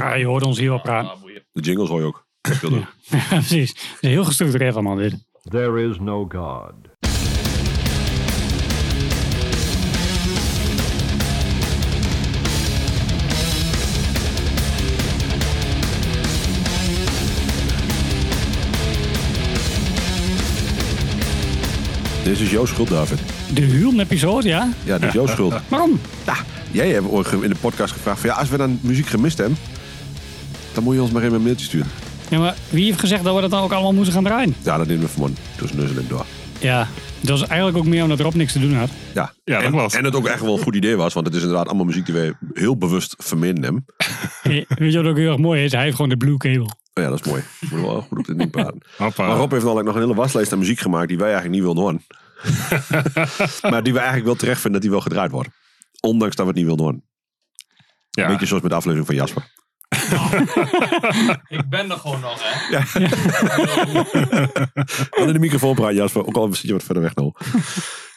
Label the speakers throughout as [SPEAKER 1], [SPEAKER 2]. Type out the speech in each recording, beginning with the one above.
[SPEAKER 1] Ah, je hoort ons hier wel praten.
[SPEAKER 2] Ah, boeien.
[SPEAKER 3] De jingles hoor je ook. Speelde.
[SPEAKER 1] Ja. Precies. Het is heel gestructureerd allemaal dit.
[SPEAKER 4] There is no God.
[SPEAKER 3] Dit is jouw schuld, David.
[SPEAKER 1] De Huurn-episode, ja?
[SPEAKER 3] Ja, dit is jouw schuld.
[SPEAKER 1] Waarom?
[SPEAKER 3] Jij hebt ooit ge- in de podcast gevraagd van ja, als we dan muziek gemist hebben, dan moet je ons maar even een mailtje sturen.
[SPEAKER 1] Ja, maar wie heeft gezegd dat we dat dan ook allemaal moeten gaan draaien?
[SPEAKER 3] Ja, dat nemen we vanmorgen tussen neus en door.
[SPEAKER 1] Ja, dat is eigenlijk ook meer omdat Rob niks te doen had.
[SPEAKER 3] Ja,
[SPEAKER 2] Ja, dat
[SPEAKER 3] en,
[SPEAKER 2] was.
[SPEAKER 3] en het ook echt wel een goed idee was, want het is inderdaad allemaal muziek die wij heel bewust verminderen. hebben.
[SPEAKER 1] Eh, Weet je wat ook heel erg mooi is? Hij heeft gewoon de blue cable.
[SPEAKER 3] Maar Oh ja, dat is mooi. We moeten wel goed op dit ding praten.
[SPEAKER 2] Hoppa.
[SPEAKER 3] Maar Rob heeft namelijk nog een hele waslijst aan muziek gemaakt die wij eigenlijk niet wilden horen. maar die we eigenlijk wel terecht vinden dat die wel gedraaid wordt. Ondanks dat we het niet wilden horen.
[SPEAKER 2] Ja.
[SPEAKER 3] Beetje zoals met de aflevering van Jasper.
[SPEAKER 2] Ik ben er gewoon nog, hè.
[SPEAKER 3] Want in de microfoon praat Jasper, ook al zit je wat verder weg nou.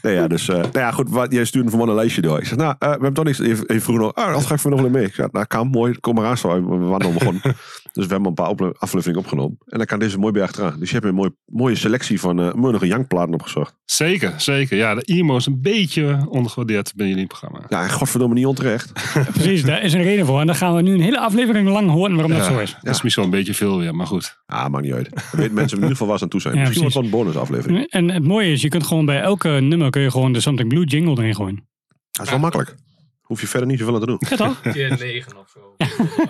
[SPEAKER 3] Nee, ja, dus, eh, nou ja, goed, wat, jij stuurde voor man een lijstje door. Ik zeg, nou, eh, we hebben toch niks. Hij hij vroeg nog, ah, dat ga ik vanmiddag wel mee. Ik zeg, nou, kan, mooi, kom maar aan zo. We waren al begonnen. dus we hebben een paar ople- afleveringen opgenomen. En dan kan deze mooi bij achteraan. Dus je hebt een mooi, mooie selectie van eh Murnige Young-platen opgezocht.
[SPEAKER 2] Zeker, zeker. Ja, de emo is een beetje ondergewaardeerd bij jullie programma.
[SPEAKER 3] Ja, en Nou, godverdomme niet onterecht.
[SPEAKER 1] Precies, daar is een reden voor. En daar gaan we nu een hele aflevering lang horen waarom dat zo is.
[SPEAKER 2] Dat is misschien wel een beetje veel weer, maar goed.
[SPEAKER 3] Ah, maakt niet uit. Dan weten mensen in ieder geval waar ze aan toe zijn.
[SPEAKER 1] Ja,
[SPEAKER 3] Misschien wordt
[SPEAKER 1] precies.
[SPEAKER 3] het wel een bonusaflevering.
[SPEAKER 1] En het mooie is, je kunt gewoon bij elke nummer kun je gewoon de Something Blue jingle erin gooien.
[SPEAKER 3] Dat is wel makkelijk. Hoef je verder niet zoveel aan te doen.
[SPEAKER 1] Ja toch?
[SPEAKER 5] keer 9 of zo.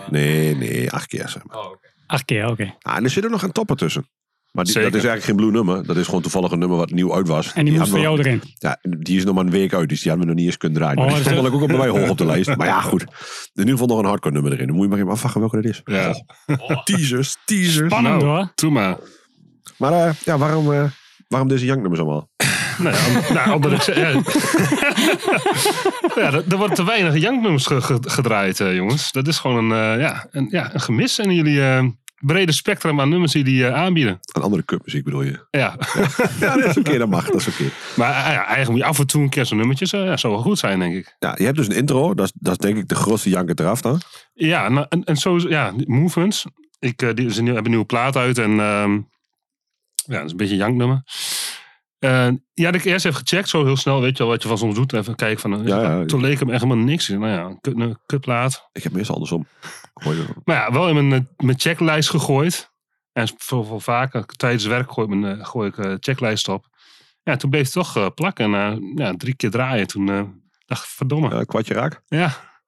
[SPEAKER 3] Nee, nee, acht keer zeg maar.
[SPEAKER 5] Oh, oké.
[SPEAKER 1] Acht keer, oké.
[SPEAKER 3] Ah, en er zit er nog een topper tussen. Maar die, dat
[SPEAKER 2] Zeker.
[SPEAKER 3] is eigenlijk geen blue nummer. Dat is gewoon toevallig een nummer wat nieuw uit was.
[SPEAKER 1] En die, moest voor
[SPEAKER 3] hadden
[SPEAKER 1] jou
[SPEAKER 3] we-
[SPEAKER 1] erin.
[SPEAKER 3] Ja, die is nog maar een week uit. Dus die hadden we nog niet eens kunnen draaien.
[SPEAKER 1] Oh,
[SPEAKER 3] Maar die
[SPEAKER 1] dat is-
[SPEAKER 3] stond wel ook op bij hoog op de lijst. Maar ja, goed. In ieder geval nog een hardcore nummer erin. Dan moet je maar even afvragen welke dat is.
[SPEAKER 2] Ja.
[SPEAKER 3] Oh, teasers, teasers.
[SPEAKER 1] Spannend
[SPEAKER 2] Nou,
[SPEAKER 1] hoor.
[SPEAKER 2] Doe maar.
[SPEAKER 3] Maar eh, ja, waarom, eh, waarom deze Young nummers allemaal?
[SPEAKER 2] Nou ja, om- nou, omdat ik- ja. ja, er, er wordt te weinig janknummers ge- ge- gedraaid, eh, jongens. Dat is gewoon een, eh, ja, een, ja, een gemis in jullie eh, brede spectrum aan nummers die jullie eh, aanbieden.
[SPEAKER 3] Een andere cupmuziek bedoel je?
[SPEAKER 2] Ja.
[SPEAKER 3] Ja, dat is oké. dat mag. Dat is oké.
[SPEAKER 2] Maar eh, ja, eigenlijk moet je af en toe een keer zo'n nummertje eh, ja, zou wel goed zijn, denk ik.
[SPEAKER 3] Ja, je hebt dus een intro. Dat is, dat is denk ik de grootste janker ter afstand.
[SPEAKER 2] Ja, nou, en, en zo, is- ja, die Movements. Ik, eh, die, ze hebben een nieuwe plaat uit en ehm, ja, dat is een beetje een janknummer. Eh, ja, dat ik eerst even gecheckt, zo heel snel, weet je wel, wat je van soms doet. Even kijken van, eh,
[SPEAKER 3] Ja, ja.
[SPEAKER 2] toen leek hem echt helemaal niks. Ik dacht, Nou ja, een kut- een kutplaat.
[SPEAKER 3] Ik heb meestal andersom. Gooi je-
[SPEAKER 2] Maar ja, wel in mijn, eh, mijn checklist gegooid. En veel, veel vaker tijdens werk gooi, ik mijn, eh, gooi ik eh, checklist op. Ja, toen bleef het toch eh, plakken. En ja, drie keer draaien. Toen eh, dacht ik, verdomme.
[SPEAKER 1] Oh.
[SPEAKER 2] Ja,
[SPEAKER 3] Ja, Eh, kwartje raak.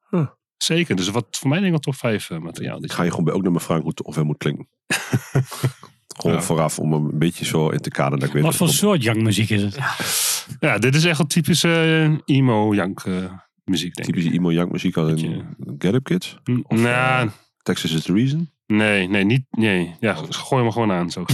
[SPEAKER 3] Huh.
[SPEAKER 2] zeker. Dus wat voor mij denk ik wel top 5 materiaal.
[SPEAKER 3] Ik
[SPEAKER 2] Dit.
[SPEAKER 3] ga je gewoon bij ook naar me vragen hoe het- of hij moet klinken. gewoon
[SPEAKER 2] Ja.
[SPEAKER 3] vooraf om hem een beetje zo in te kaderen. Dat ik weet
[SPEAKER 1] Wat
[SPEAKER 3] dat
[SPEAKER 1] voor
[SPEAKER 3] het
[SPEAKER 1] soort young muziek is het?
[SPEAKER 2] Ja, dit is echt wel typische eh, emo-jank eh, muziek,
[SPEAKER 3] komt.
[SPEAKER 2] denk ik.
[SPEAKER 3] typische emo Young muziek als in Get Up Kids.
[SPEAKER 2] Hm, nou,
[SPEAKER 3] Texas is the Reason.
[SPEAKER 2] nee, nee, niet. Nee. Ja,
[SPEAKER 3] Oh.
[SPEAKER 2] gooi me gewoon aan. Zo.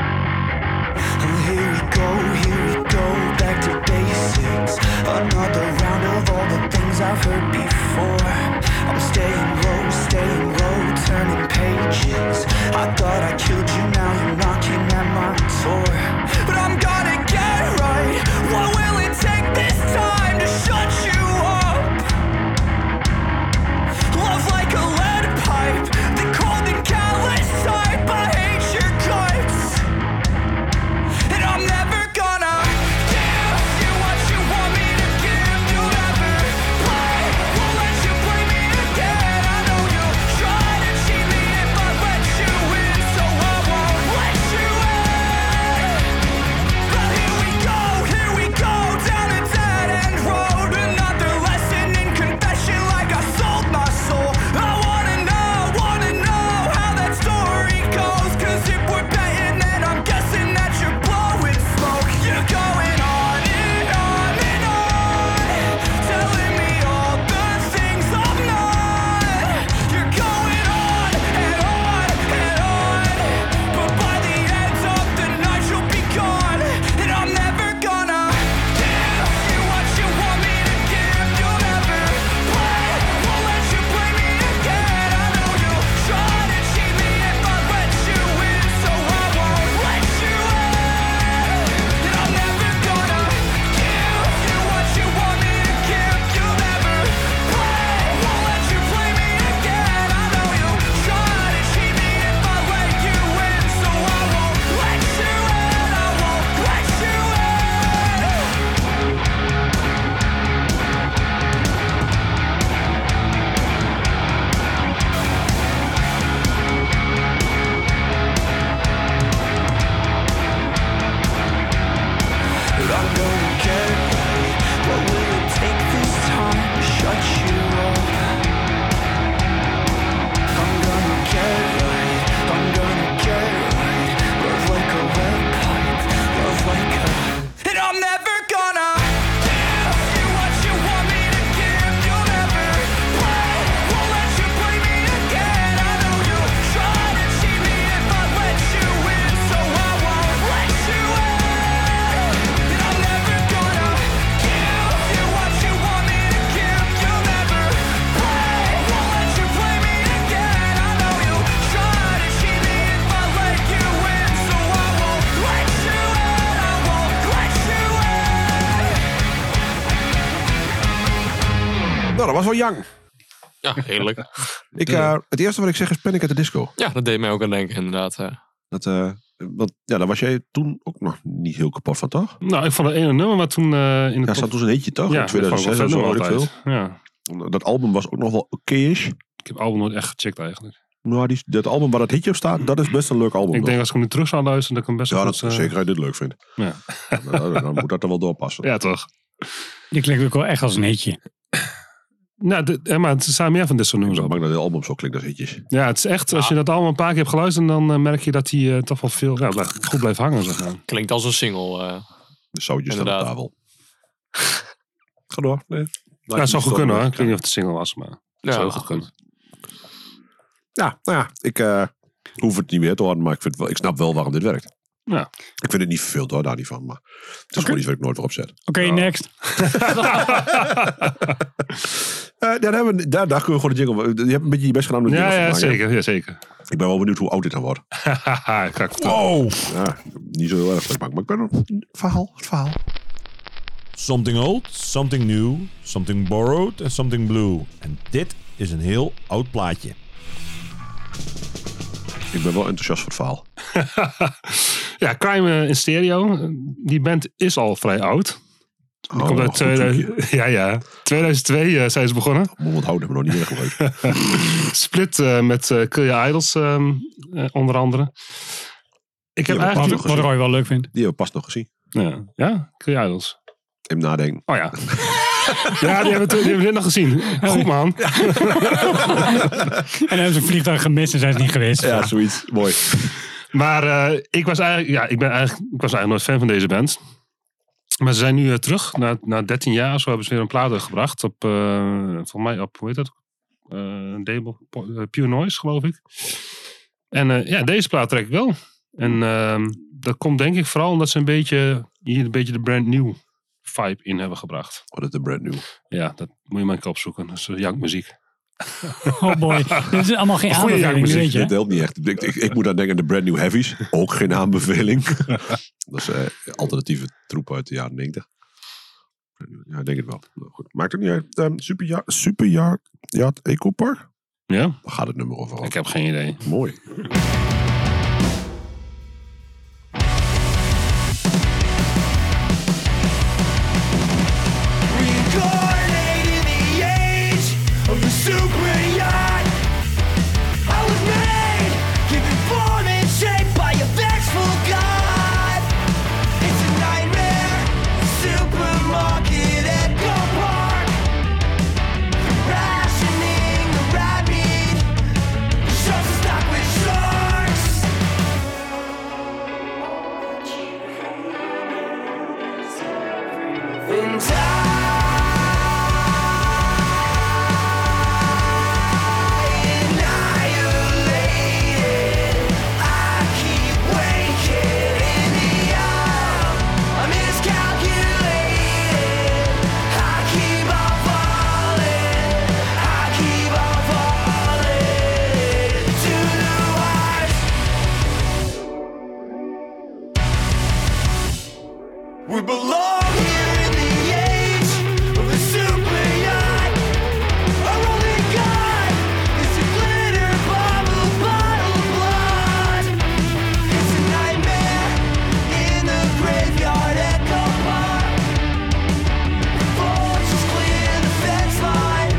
[SPEAKER 6] Oh, here we go, here we go, back to basics. Another round of all the things I've heard before. I'm staying low, staying low, turning pages. I thought I killed you, now you're knocking at my door. But I'm gonna get right. What will it take this time to shut you up? Love like a
[SPEAKER 3] Nou, dat was wel jang.
[SPEAKER 5] Ja, heerlijk.
[SPEAKER 3] Ik, eh, het eerste wat ik zeg is Panic at the Disco.
[SPEAKER 5] Ja, dat deed mij ook aan denken, inderdaad. eh.
[SPEAKER 3] Dat, eh, want, ja, daar was jij toen ook nog niet heel kapot van, toch?
[SPEAKER 2] Nou, ik vond het ene nummer, maar toen eh, in de
[SPEAKER 3] Ja,
[SPEAKER 2] top-
[SPEAKER 3] zat toen een hitje, toch? in
[SPEAKER 2] dat vond ik wel
[SPEAKER 3] 2006
[SPEAKER 2] vet
[SPEAKER 3] of zo,
[SPEAKER 2] nummer
[SPEAKER 3] weet ik veel.
[SPEAKER 2] altijd. Ja,
[SPEAKER 3] Dat album was ook nog wel oké-ish.
[SPEAKER 2] ik heb het album nooit echt gecheckt eigenlijk.
[SPEAKER 3] Nou, die, dat album waar dat hitje op staat, dat is best een leuk album.
[SPEAKER 2] ik
[SPEAKER 3] nog.
[SPEAKER 2] denk als ik hem nu terug zou luisteren, dat ik hem best
[SPEAKER 3] ja,
[SPEAKER 2] wel
[SPEAKER 3] dat
[SPEAKER 2] goed, eh,
[SPEAKER 3] zeker hij dit leuk vindt.
[SPEAKER 2] Ja.
[SPEAKER 3] dan, dan moet dat er wel doorpassen.
[SPEAKER 2] Ja, toch.
[SPEAKER 1] Die klinkt ook wel echt als een hitje.
[SPEAKER 2] Nou, dit- eh, maar het zijn meer van dit soort
[SPEAKER 3] Dus Ik
[SPEAKER 2] nummers
[SPEAKER 3] ben
[SPEAKER 2] op.
[SPEAKER 3] bang dat het album zo klinkt als hitjes.
[SPEAKER 2] Ja, het is echt, als je dat allemaal een paar keer hebt geluisterd, dan eh, merk je dat hij eh, toch wel veel ja, blijft- goed blijft hangen, zeg maar.
[SPEAKER 5] Klinkt als een single. eh.
[SPEAKER 3] De zoutjes staan op
[SPEAKER 5] Inderdaad.
[SPEAKER 3] tafel. Ga door. Nee.
[SPEAKER 2] Ja, het zou goed kunnen hoor. Ik weet niet of het een single was, maar het
[SPEAKER 5] ja,
[SPEAKER 2] zou heel goed kunnen.
[SPEAKER 3] Ja, nou ja, ik eh, hoef het niet meer te horen, maar ik, vind wel, ik snap wel waarom dit werkt.
[SPEAKER 2] Ja.
[SPEAKER 3] Ik vind het niet veel hoor, daar niet van, maar het is gewoon iets waar ik nooit voor opzet.
[SPEAKER 1] Oké, next.
[SPEAKER 3] Eh daar, hebben we, daar, daar kunnen we gewoon de jingle... Je hebt een beetje je best gedaan om de
[SPEAKER 2] Ja,
[SPEAKER 3] jingle
[SPEAKER 2] ja,
[SPEAKER 3] te maken.
[SPEAKER 2] zeker. Ja, zeker.
[SPEAKER 3] Ik ben wel benieuwd hoe oud dit dan wordt.
[SPEAKER 2] Haha, ik kan het
[SPEAKER 7] eh,
[SPEAKER 2] vertellen.
[SPEAKER 7] Oh.
[SPEAKER 3] Wow! Ja, niet zo heel erg leuk, maar ik ben... Verhaal, het verhaal.
[SPEAKER 7] Something old, something new, something borrowed en something blue. En dit is een heel oud plaatje.
[SPEAKER 3] Ik ben wel enthousiast voor het verhaal.
[SPEAKER 2] Ja, Crime eh, in Stereo. eh, Die band is al vrij oud. Die
[SPEAKER 3] Oh,
[SPEAKER 2] komt uit
[SPEAKER 3] goed trucje.
[SPEAKER 2] 2000, ja, ja. 2002 eh, zijn ze begonnen.
[SPEAKER 3] Moet onthouden, hebben we nog niet erg leuk.
[SPEAKER 2] Split eh, met eh Kill Your Idols ehm, eh, onder andere. Ik heb
[SPEAKER 3] Ja, maar
[SPEAKER 2] eigenlijk...
[SPEAKER 3] Patrick-
[SPEAKER 1] Wat, wat Roy wel leuk vindt.
[SPEAKER 3] Die hebben we pas nog gezien.
[SPEAKER 2] Ja, ja, Kill Your Idols.
[SPEAKER 3] Even nadenken.
[SPEAKER 2] Oh ja. ja, die hebben, we- die hebben we net nog gezien. Goed man.
[SPEAKER 1] En dan hebben ze een vliegtuig gemist en zijn ze niet geweest.
[SPEAKER 3] Ja, zoiets. Mooi.
[SPEAKER 2] Maar eh, ik was eigenlijk, ja, ik ben eigenlijk, ik was eigenlijk nooit fan van deze band. Maar ze zijn nu eh, terug. Na, na 13 jaar zo hebben ze weer een plaat uitgebracht. Op, eh voor mij op, hoe heet dat? Eh, een label, po- eh, Pure Noise, geloof ik. En eh, ja, deze plaat trek ik wel. En ehm, dat komt denk ik vooral omdat ze een beetje, hier een beetje de brand new vibe in hebben gebracht.
[SPEAKER 3] Wat is de brand new?
[SPEAKER 2] Ja, dat moet je maar een keer opzoeken. Dat is eh, jankmuziek.
[SPEAKER 1] Oh boy. Dit is allemaal geen
[SPEAKER 2] Goeie
[SPEAKER 1] aanbeveling, nu
[SPEAKER 2] jaarmuziek,
[SPEAKER 1] weet je. hè?
[SPEAKER 3] Dit helpt niet echt. Ik, ik, ik moet aan denken aan de brand new heavies. Ook geen aanbeveling. dat is eh, alternatieve troep uit de jaren 90. Ja, ik denk het wel. Nou, goed. Maakt ook niet uit. Ehm, super ja, super ja, ja, Eco Park.
[SPEAKER 2] Ja?
[SPEAKER 3] Daar gaat het nummer over.
[SPEAKER 2] Ik heb geen idee.
[SPEAKER 3] Mooi.
[SPEAKER 6] Reincarnate in the age of the super yacht. I was made, given form and shape by a vengeful god. It's a nightmare, supermarket at the park. The rationing, the rabbit, the sharks are stocked with sharks. And I annihilated. I keep waking in the arm. I miscalculated. I keep on falling. I keep on falling to the wires. We belong here in the age of the super yacht. Our only god is a glitter bomb of bottled blood. It's a nightmare in the graveyard at the park. The vultures clear the fence line.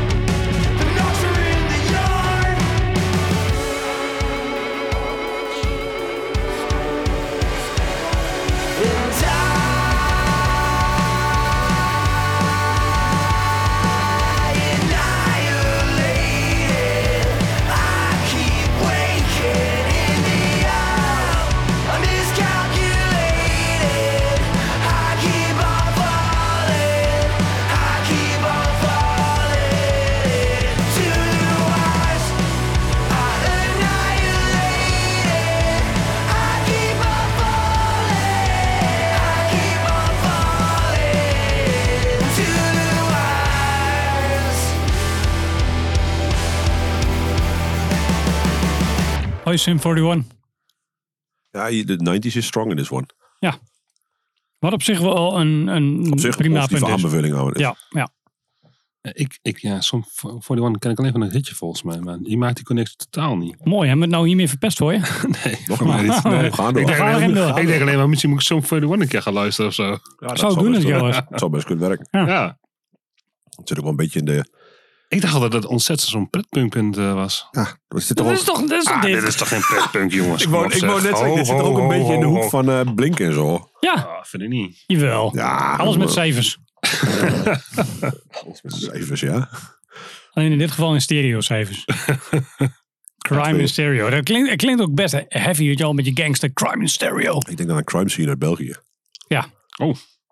[SPEAKER 6] The knocks are in the yard. And I annihilated. I keep waking in the aisle. I miscalculated. I keep on falling. I keep on falling to the wires. I annihilated. I keep on falling. I keep on falling to the wires.
[SPEAKER 1] Hoi Sim 41.
[SPEAKER 3] Ja, je- de 90s is strong in this one.
[SPEAKER 1] Wat op zich wel een, een
[SPEAKER 3] Op zich een
[SPEAKER 1] prima punt is.
[SPEAKER 3] positieve aanbeveling houden.
[SPEAKER 1] Ja, ja.
[SPEAKER 2] Eh, Ik, ik, ja, Som 41 ken ik alleen van een hitje volgens mij. Maar die maakt die connectie totaal niet.
[SPEAKER 1] Mooi, hebben we het nou hiermee verpest voor je?
[SPEAKER 2] Nee,
[SPEAKER 3] Nog maar niet. Nee, we gaan door.
[SPEAKER 2] Ik denk,
[SPEAKER 1] gaan
[SPEAKER 2] alleen-
[SPEAKER 1] erin door.
[SPEAKER 2] ik denk alleen maar misschien moet ik Som 41 een keer gaan luisteren of zo.
[SPEAKER 3] Ja, dat
[SPEAKER 1] Zou ik doen,
[SPEAKER 3] best
[SPEAKER 1] het
[SPEAKER 3] wel-
[SPEAKER 1] Joris.
[SPEAKER 3] Dat zou best kunnen werken.
[SPEAKER 1] Ja.
[SPEAKER 2] Ja.
[SPEAKER 3] Het zit ook wel een beetje in de...
[SPEAKER 2] Ik dacht altijd dat het ontzettend zo'n pretpunkpunt eh, was.
[SPEAKER 3] Ja, dat zit toch
[SPEAKER 1] Dat is
[SPEAKER 3] wel-
[SPEAKER 1] toch, dat is toch
[SPEAKER 2] Ah,
[SPEAKER 1] dit?
[SPEAKER 2] dit is toch geen pretpunk, jongens.
[SPEAKER 3] Ik wou, ik wou net zeggen, dit zit er ook een beetje in de hoek van eh Blink en zo.
[SPEAKER 1] Ja,
[SPEAKER 2] Ah, vind ik niet.
[SPEAKER 1] jawel.
[SPEAKER 3] Ja,
[SPEAKER 1] Alles met
[SPEAKER 3] eh,
[SPEAKER 1] cijfers.
[SPEAKER 3] alles met cijfers, ja.
[SPEAKER 1] Alleen in dit geval in stereo-cijfers.
[SPEAKER 3] weet
[SPEAKER 1] crime in
[SPEAKER 3] ik.
[SPEAKER 1] stereo. Dat klinkt, het klinkt ook best heavy, weet je al, met je gangster. Crime in stereo.
[SPEAKER 3] Ik denk aan een crime scene uit België.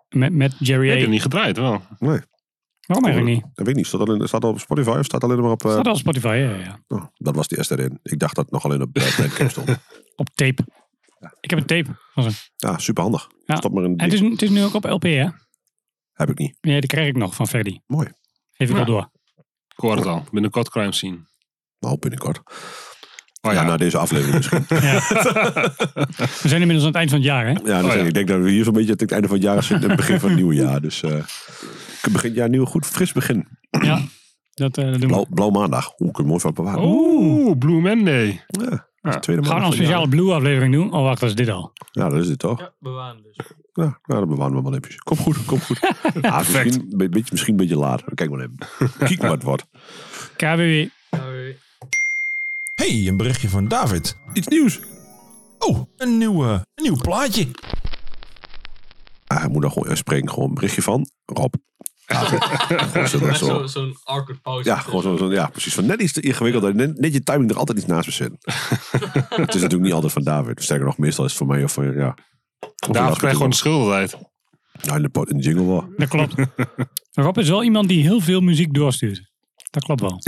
[SPEAKER 1] Met, met Jerry
[SPEAKER 2] Ik heb
[SPEAKER 1] A. Oh,
[SPEAKER 2] het niet gedraaid, wel.
[SPEAKER 3] Nee,
[SPEAKER 1] Waarom eigenlijk niet?
[SPEAKER 3] dat weet ik niet. Staat dat, in, staat dat op Spotify of staat dat alleen maar op... eh,
[SPEAKER 1] Staat al op Spotify, ja, ja, ja.
[SPEAKER 3] oh, dat was de eerste erin. Ik dacht dat het nog alleen op eh, Bandcamp stond.
[SPEAKER 1] Op tape. Ik heb een tape. van ze.
[SPEAKER 3] Ja, superhandig.
[SPEAKER 1] Ja.
[SPEAKER 3] Stop maar in
[SPEAKER 1] En het
[SPEAKER 3] die-
[SPEAKER 1] is, het is nu ook op LP, hè?
[SPEAKER 3] Heb ik niet.
[SPEAKER 1] Nee, die krijg ik nog van Ferdy.
[SPEAKER 3] Mooi.
[SPEAKER 1] Geef ik
[SPEAKER 2] Ja.
[SPEAKER 1] al door.
[SPEAKER 2] Ik hoor het al. Binnenkort crime scene.
[SPEAKER 3] Nou, binnenkort.
[SPEAKER 2] Oh
[SPEAKER 3] ja. nou-
[SPEAKER 2] ja,
[SPEAKER 3] na deze aflevering misschien.
[SPEAKER 1] We zijn inmiddels aan het eind van het jaar, hè?
[SPEAKER 3] ja, dus
[SPEAKER 2] Oh ja.
[SPEAKER 3] ik denk dat we hier zo'n beetje tegen het einde van het jaar zitten. en Het begin van het nieuwe jaar. Dus eh begin jaar nieuw, goed fris begin.
[SPEAKER 1] Ja, dat, eh, dat doen
[SPEAKER 3] Blauw,
[SPEAKER 1] we.
[SPEAKER 3] blauw maandag. Hoe kun je mooi van bewaren.
[SPEAKER 2] Oeh, Blue Monday.
[SPEAKER 3] Ja, dat is
[SPEAKER 2] Ja.
[SPEAKER 3] de tweede
[SPEAKER 1] Oh. Gaan we een
[SPEAKER 3] maandag van het jaar.
[SPEAKER 1] speciale Blue-aflevering doen? Oh, wacht, dat is dit al.
[SPEAKER 3] Ja, dat is het toch?
[SPEAKER 5] Ja, bewaren dus.
[SPEAKER 3] Ja, nou, dat bewaren we wel even. Kom goed, kom goed. Ah, misschien, be- beetje, misschien een beetje later. Kijk maar even. Kijk maar wat wordt.
[SPEAKER 1] KWW.
[SPEAKER 5] Nou, eh,
[SPEAKER 7] Hey, een berichtje van David.
[SPEAKER 3] Iets nieuws.
[SPEAKER 7] Oh, een nieuw, eh, een nieuw plaatje.
[SPEAKER 3] Ah, hij moet dan gewoon eh, spreken. Gewoon een berichtje van Rob. Ja, gewoon zo-
[SPEAKER 5] Zo'n
[SPEAKER 3] zo-
[SPEAKER 5] awkward pauze.
[SPEAKER 3] Ja, gewoon zo, zo- ja, precies. Van net iets te ingewikkelder. Net, net je timing er altijd iets naast bezit. het is natuurlijk niet altijd van David. Sterker nog, meestal is het voor mij of van, ja. Of
[SPEAKER 2] Daar krijg je gewoon de
[SPEAKER 3] gewoon...
[SPEAKER 2] schuld uit.
[SPEAKER 3] Nou, in de, pot- in de jingle wel.
[SPEAKER 1] Dat klopt. Rob is wel iemand die heel veel muziek doorstuurt. Dat klopt wel.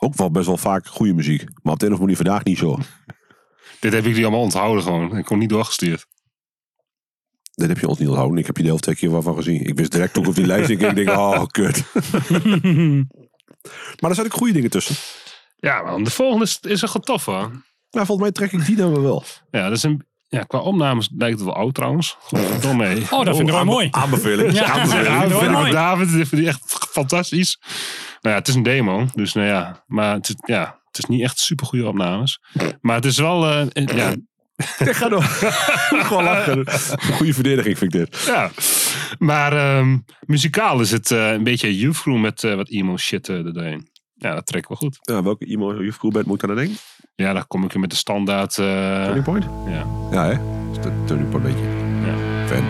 [SPEAKER 3] Ook wel best wel vaak goede muziek. Maar op de een of andere manier vandaag niet zo.
[SPEAKER 2] Dit heb ik die allemaal onthouden gewoon. Ik kon niet doorgestuurd.
[SPEAKER 3] Dat heb je ons niet onthouden. Ik heb je de helft twee keer waarvan gezien. Ik wist direct ook op die lijst. Ik keek, ik denk, oh, kut. maar er zaten ook goede dingen tussen.
[SPEAKER 2] Ja, man. De volgende is, is echt wel tof, hoor.
[SPEAKER 3] Nou, volgens mij trek ik die dan wel wel.
[SPEAKER 2] Ja, dat is een... Ja, qua opnames lijkt het wel oud trouwens. Dom mee.
[SPEAKER 1] Oh, dat vind ik wel mooi.
[SPEAKER 3] Aanbeveling.
[SPEAKER 1] Ja.
[SPEAKER 3] Aanbeveling.
[SPEAKER 1] Ja,
[SPEAKER 2] Ja, dat
[SPEAKER 1] mooi,
[SPEAKER 2] vind ik
[SPEAKER 1] mooi.
[SPEAKER 2] van David dit vind ik echt fantastisch. Nou ja, het is een demo, dus nou ja. Maar het, is- ja, het is niet echt super goede opnames. Maar het is wel, eh, eh, ja,
[SPEAKER 3] Ik ga door. gewoon lachen. Goede verdediging vind ik dit.
[SPEAKER 2] ja. Maar ehm, muzikaal is het eh, een beetje Youth Crew met eh, wat emo shit eh, erdoorheen. Ja, dat trekken we goed.
[SPEAKER 3] Ja, welke e-mail je vroeg bent, moet ik aan denken?
[SPEAKER 2] Ja, dan kom ik weer met de standaard. eh,
[SPEAKER 3] Turning Point?
[SPEAKER 2] ja.
[SPEAKER 3] Ja, hè? Dat is de Turning Point beetje.
[SPEAKER 2] Ja.
[SPEAKER 3] Fan.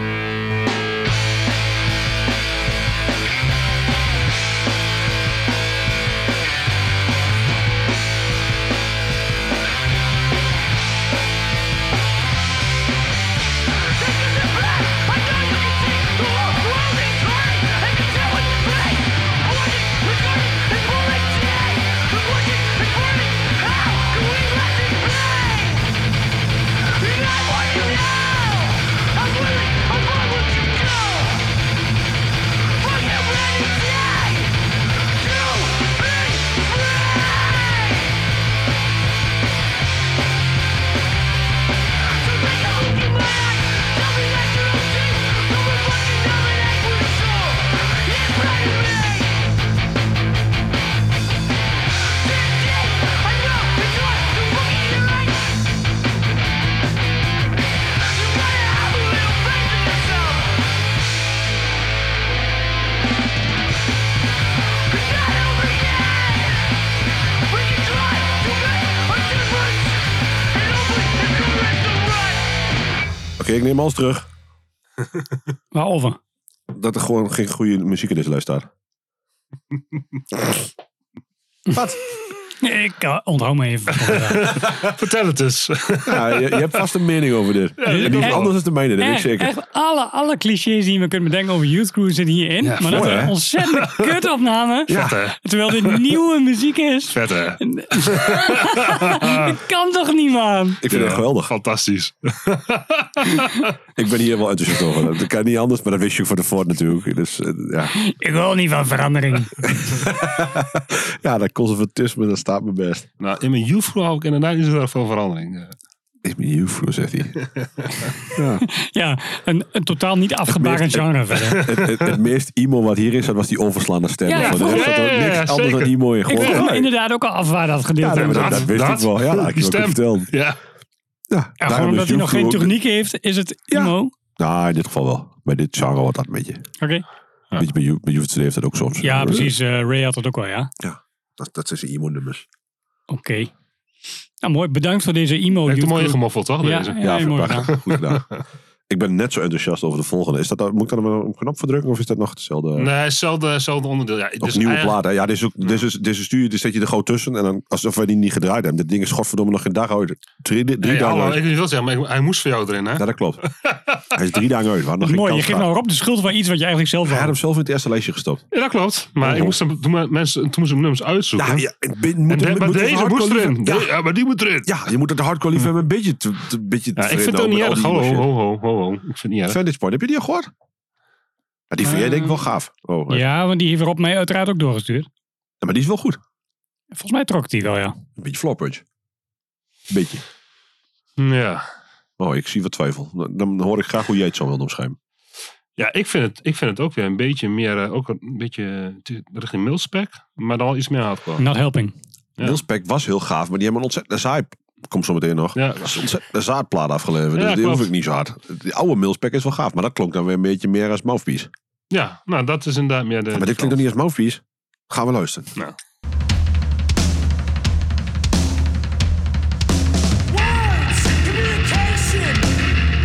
[SPEAKER 3] Oké, ik neem alles terug.
[SPEAKER 1] Waarover?
[SPEAKER 3] Dat er gewoon geen goede muziek in deze lijst staat. Wat?
[SPEAKER 1] Ik eh, onthoud me even.
[SPEAKER 2] Vertel het eens.
[SPEAKER 3] Ja, je, je hebt vast een mening over dit. en die is
[SPEAKER 1] echt-
[SPEAKER 3] anders is de mijne, dat weet ik
[SPEAKER 1] Echt,
[SPEAKER 3] zeker.
[SPEAKER 1] echt alle, alle clichés die je me kunt bedenken over Youth Crew zitten hierin. maar dat
[SPEAKER 3] mooi,
[SPEAKER 1] is
[SPEAKER 3] hè?
[SPEAKER 1] een ontzettend kutopname.
[SPEAKER 2] Vet, hè?
[SPEAKER 1] Terwijl dit nieuwe muziek is.
[SPEAKER 2] Vet, hè?
[SPEAKER 1] Dat kan toch niet, man?
[SPEAKER 3] Ik vind het geweldig.
[SPEAKER 2] Fantastisch.
[SPEAKER 3] Ik ben hier wel enthousiast over. Dat kan niet anders, maar dat wist je ook van tevoren natuurlijk. Dus eh, ja.
[SPEAKER 1] Ik wil niet van verandering.
[SPEAKER 3] ja, dat conservatisme, dat staat me best.
[SPEAKER 2] Nou, in mijn youth crew hou ik inderdaad niet zo erg veel verandering. Eh,
[SPEAKER 3] Is me juffrouw, zegt hij. ja.
[SPEAKER 1] Ja, een, een totaal niet afgebaren
[SPEAKER 3] meest-
[SPEAKER 1] genre verder.
[SPEAKER 3] het, het, het meest emo wat hier is, dat was die onverslaande stem.
[SPEAKER 1] Ja,
[SPEAKER 3] Van,
[SPEAKER 1] ja,
[SPEAKER 3] er zat
[SPEAKER 2] ja,
[SPEAKER 3] ook
[SPEAKER 2] ja,
[SPEAKER 3] niks
[SPEAKER 2] ja,
[SPEAKER 3] anders dan
[SPEAKER 2] zeker.
[SPEAKER 3] emo in.
[SPEAKER 1] Ik
[SPEAKER 3] Gewoon,
[SPEAKER 1] vroeg me
[SPEAKER 3] ja,
[SPEAKER 1] inderdaad ook al af waar dat gedeelte
[SPEAKER 3] nee, maar dat,
[SPEAKER 1] uit
[SPEAKER 2] inderdaad.
[SPEAKER 1] was.
[SPEAKER 3] dat wist
[SPEAKER 2] Dat-
[SPEAKER 3] ik wel. Ja, laat ik
[SPEAKER 2] die
[SPEAKER 3] je ook
[SPEAKER 2] stem.
[SPEAKER 3] even vertellen.
[SPEAKER 2] Ja,
[SPEAKER 3] Ja,
[SPEAKER 1] Ja,
[SPEAKER 3] daarom
[SPEAKER 1] gewoon
[SPEAKER 3] is
[SPEAKER 1] omdat hij nog
[SPEAKER 3] Juffrouw
[SPEAKER 1] geen
[SPEAKER 3] ook-
[SPEAKER 1] techniek heeft, is het
[SPEAKER 3] Ja.
[SPEAKER 1] emo. Oké.
[SPEAKER 3] Nou, in dit geval wel. Bij dit genre wordt dat een beetje. Een beetje bij Ju- bij Juve heeft dat ook soms.
[SPEAKER 1] Ja, precies. eh, Ray had dat ook al, ja.
[SPEAKER 3] Dat, dat zijn zijn emo-nummers.
[SPEAKER 1] Oké. Nou, mooi. Bedankt voor deze emo.
[SPEAKER 2] heeft hem mooi
[SPEAKER 1] YouTube.
[SPEAKER 2] ingemoffeld, toch?
[SPEAKER 1] Ja,
[SPEAKER 2] deze?
[SPEAKER 1] ja,
[SPEAKER 3] Ja,
[SPEAKER 1] ja, mooi
[SPEAKER 3] verpakt.
[SPEAKER 1] gedaan.
[SPEAKER 3] Goed gedaan. Ik ben net zo enthousiast over de volgende. Is dat, dan- moet ik dan een knop verdrukken of is dat nog hetzelfde?
[SPEAKER 2] Nee, hetzelfde, hetzelfde onderdeel. Ja, het
[SPEAKER 3] Of
[SPEAKER 2] is
[SPEAKER 3] nieuwe
[SPEAKER 2] eigenlijk-
[SPEAKER 3] plaat. hè? Ja, dit is ook, dit is, dit is stuur, dit zet je er gewoon tussen. En dan, alsof wij die niet gedraaid hebben. Dit ding is godverdomme nog geen dag uit. Drie, drie
[SPEAKER 2] Nee,
[SPEAKER 3] dagen
[SPEAKER 2] hallo,
[SPEAKER 3] uit.
[SPEAKER 2] ik wil zeggen, maar ik- hij moest voor jou erin, hè?
[SPEAKER 3] Ja, dat klopt. Hij is drie dagen uit. We hadden nog geen
[SPEAKER 1] Mooi, je
[SPEAKER 3] kans
[SPEAKER 1] geeft
[SPEAKER 3] gehad.
[SPEAKER 1] nou op de schuld van iets wat je eigenlijk zelf
[SPEAKER 3] Hij had
[SPEAKER 1] had.
[SPEAKER 3] hem zelf in het eerste lijstje gestopt.
[SPEAKER 2] Ja, dat klopt. Maar ik moest hem, toen, maar mensen, toen moesten we nummers uitzoeken.
[SPEAKER 3] Ja, ja, ik ben- moet,
[SPEAKER 2] en de-
[SPEAKER 3] moet,
[SPEAKER 2] maar
[SPEAKER 3] moet
[SPEAKER 2] deze
[SPEAKER 3] het
[SPEAKER 2] moest
[SPEAKER 3] hardcore
[SPEAKER 2] erin.
[SPEAKER 3] liever-
[SPEAKER 2] Ja. ja, maar die moet erin.
[SPEAKER 3] Ja, ja, je moet het hardcore liever hebben. Een beetje, te, te- een beetje
[SPEAKER 2] Ja, ik
[SPEAKER 3] tevreden
[SPEAKER 2] vind het
[SPEAKER 3] houden
[SPEAKER 2] ook niet
[SPEAKER 3] met
[SPEAKER 2] erg.
[SPEAKER 3] al die
[SPEAKER 2] Ho, ho,
[SPEAKER 3] shit.
[SPEAKER 2] ho, ho, ho, ho. Ik vind het niet erg.
[SPEAKER 3] Vantage Point, heb je die al gehoord? Ja, die vind jij denk ik wel gaaf. Oh, ja.
[SPEAKER 1] Ja, want die heeft Rob mij uiteraard ook doorgestuurd.
[SPEAKER 3] Maar die is wel goed.
[SPEAKER 1] Volgens mij trok die wel, ja.
[SPEAKER 3] Een beetje floppertje. Een beetje.
[SPEAKER 2] Ja.
[SPEAKER 3] Oh, ik zie wat twijfel. Dan, dan hoor ik graag hoe jij het zo wilt omschrijven.
[SPEAKER 2] Ja, ik vind, het, ik vind het ook weer een beetje meer, eh, ook een beetje eh, richting milspec, maar dan wel iets meer hardcore.
[SPEAKER 1] Not helping.
[SPEAKER 2] Ja.
[SPEAKER 3] Nilspec was heel gaaf, maar die hebben een ontzettend saai... Komt zo meteen nog.
[SPEAKER 2] Ja.
[SPEAKER 3] Dat is een ontzettend zaadplaat afgeleverd.
[SPEAKER 2] Ja,
[SPEAKER 3] dus die
[SPEAKER 2] klopt.
[SPEAKER 3] hoef ik niet zo hard. Die oude Milspec is wel gaaf, maar dat klonk dan weer een beetje meer als mouthpiece.
[SPEAKER 2] Ja, nou dat is inderdaad meer de...
[SPEAKER 3] maar dit klinkt
[SPEAKER 2] de-
[SPEAKER 3] nog niet als mouthpiece. Gaan we luisteren.
[SPEAKER 2] Nou.
[SPEAKER 6] Words, communication,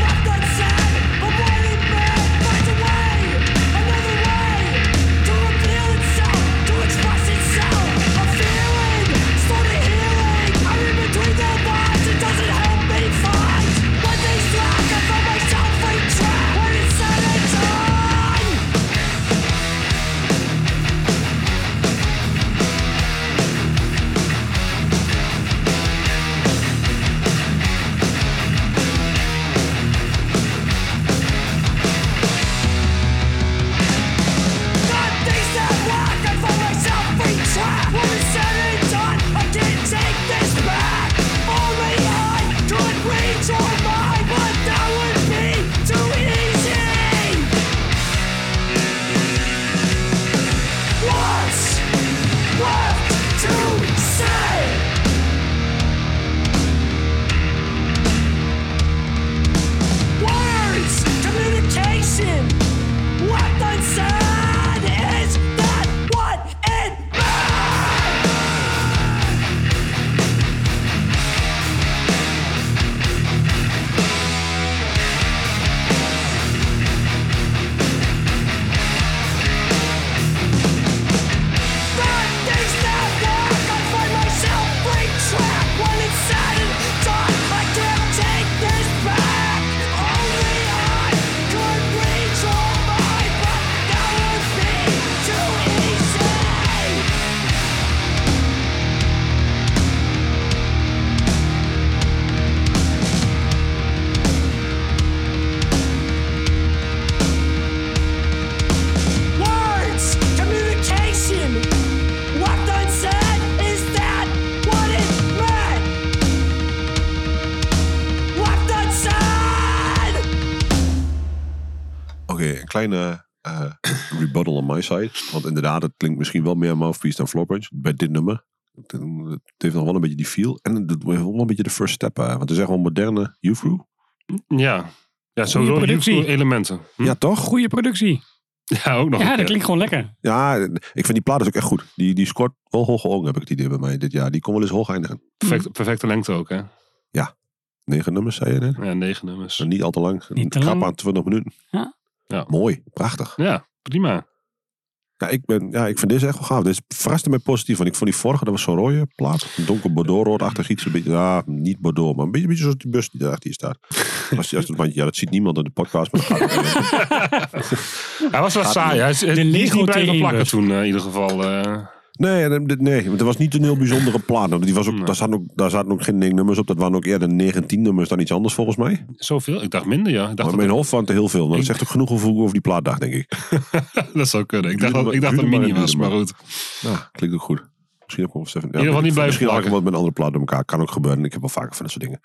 [SPEAKER 6] left outside, avoiding man, finds a way, another way to reveal itself, to express itself. A feeling, started healing. I'm in between their lines, it doesn't help me find what they lack. I find myself entrapped when it's said and done. God, these that work, I find myself trapped. When it's said and done, I can't take this back. Only I could reach your mind, but that would be too easy. What's left to say? Words, communication, left unsaid is that what it meant? Bad things that work, I find myself being trapped. When it's said and done, I can't take this back. Only I could reach all mine, but that would be too easy. Words, communication. What unsaid is that what it meant? What unsaid?
[SPEAKER 3] Oké, een kleine eh, rebuttal on my side. Want inderdaad, het klinkt misschien wel meer mouthpiece dan floorpunch bij dit nummer. Het, het heeft nog wel een beetje die feel. En het doet wel een beetje de first step. eh, want het is echt wel een moderne Youthrew.
[SPEAKER 2] Ja. Ja, zo
[SPEAKER 1] Goeie
[SPEAKER 2] door
[SPEAKER 1] productie.
[SPEAKER 2] heel veel elementen. Hm?
[SPEAKER 3] Ja, toch?
[SPEAKER 1] Goede productie.
[SPEAKER 2] Ja, ook nog. een
[SPEAKER 1] Ja, dat
[SPEAKER 2] keer.
[SPEAKER 1] klinkt gewoon lekker.
[SPEAKER 3] Ja, ik vind die plaat dus ook echt goed. Die, die scoort wel hoge ogen, heb ik het idee bij mij dit jaar. Die kon wel eens hoog eindigen.
[SPEAKER 2] Perfect, perfecte lengte ook, hè?
[SPEAKER 3] Negen nummers, zei je net?
[SPEAKER 2] Ja, negen nummers.
[SPEAKER 3] Dus niet al te lang.
[SPEAKER 1] Niet te
[SPEAKER 3] Een
[SPEAKER 1] lang.
[SPEAKER 3] Grap aan 20 minuten.
[SPEAKER 1] Ja.
[SPEAKER 2] Ja.
[SPEAKER 3] Mooi, prachtig.
[SPEAKER 2] Ja, prima.
[SPEAKER 3] Ja ik, ben, ja, ik vind deze echt wel gaaf. Deze verraste mij positief. Want ik vond die vorige, dat was zo'n rode plaat. Een donker bordeauxroodachtig iets. Een beetje, ja, niet bordeaux, maar een beetje, beetje zoals die bus die daarachter hier staat. Als, als, want ja, dat ziet niemand in de podcast. Maar dat gaat ook wel.
[SPEAKER 2] Hij was wel saai. Hij is, hij
[SPEAKER 1] De
[SPEAKER 2] is
[SPEAKER 1] Lego
[SPEAKER 2] niet blijven
[SPEAKER 1] T1
[SPEAKER 2] plakken
[SPEAKER 1] bus.
[SPEAKER 2] toen, eh, in ieder geval. eh.
[SPEAKER 3] nee, en, eh, nee, want het was niet een heel bijzondere plaat. Want Die was ook,
[SPEAKER 2] Nee.
[SPEAKER 3] daar, zaten ook, daar zaten ook geen negen nummers op. Dat waren ook eerder 19 nummers dan iets anders volgens mij.
[SPEAKER 2] Zoveel? Ik dacht minder, ja. Ik dacht
[SPEAKER 3] maar in
[SPEAKER 2] dat,
[SPEAKER 3] mijn hoofd waren het er heel veel. Maar dat
[SPEAKER 2] Ik-
[SPEAKER 3] zegt ook genoeg over, over die plaatdag, denk ik.
[SPEAKER 2] dat zou kunnen. Ik dacht,
[SPEAKER 3] Duurde
[SPEAKER 2] dat, ik dacht dat
[SPEAKER 3] maar- duurde
[SPEAKER 2] het mini
[SPEAKER 3] maar,
[SPEAKER 2] was,
[SPEAKER 3] duurde
[SPEAKER 2] maar goed.
[SPEAKER 3] Nou, klinkt ook goed. Misschien ook wel Stefan. Ja,
[SPEAKER 2] In ieder geval
[SPEAKER 3] weet
[SPEAKER 2] niet
[SPEAKER 3] ik veel. Misschien
[SPEAKER 2] blijven
[SPEAKER 3] haal ik
[SPEAKER 2] plakken.
[SPEAKER 3] hem wat met een andere plaat door elkaar. Kan ook gebeuren. Ik heb wel vaker van dat soort dingen.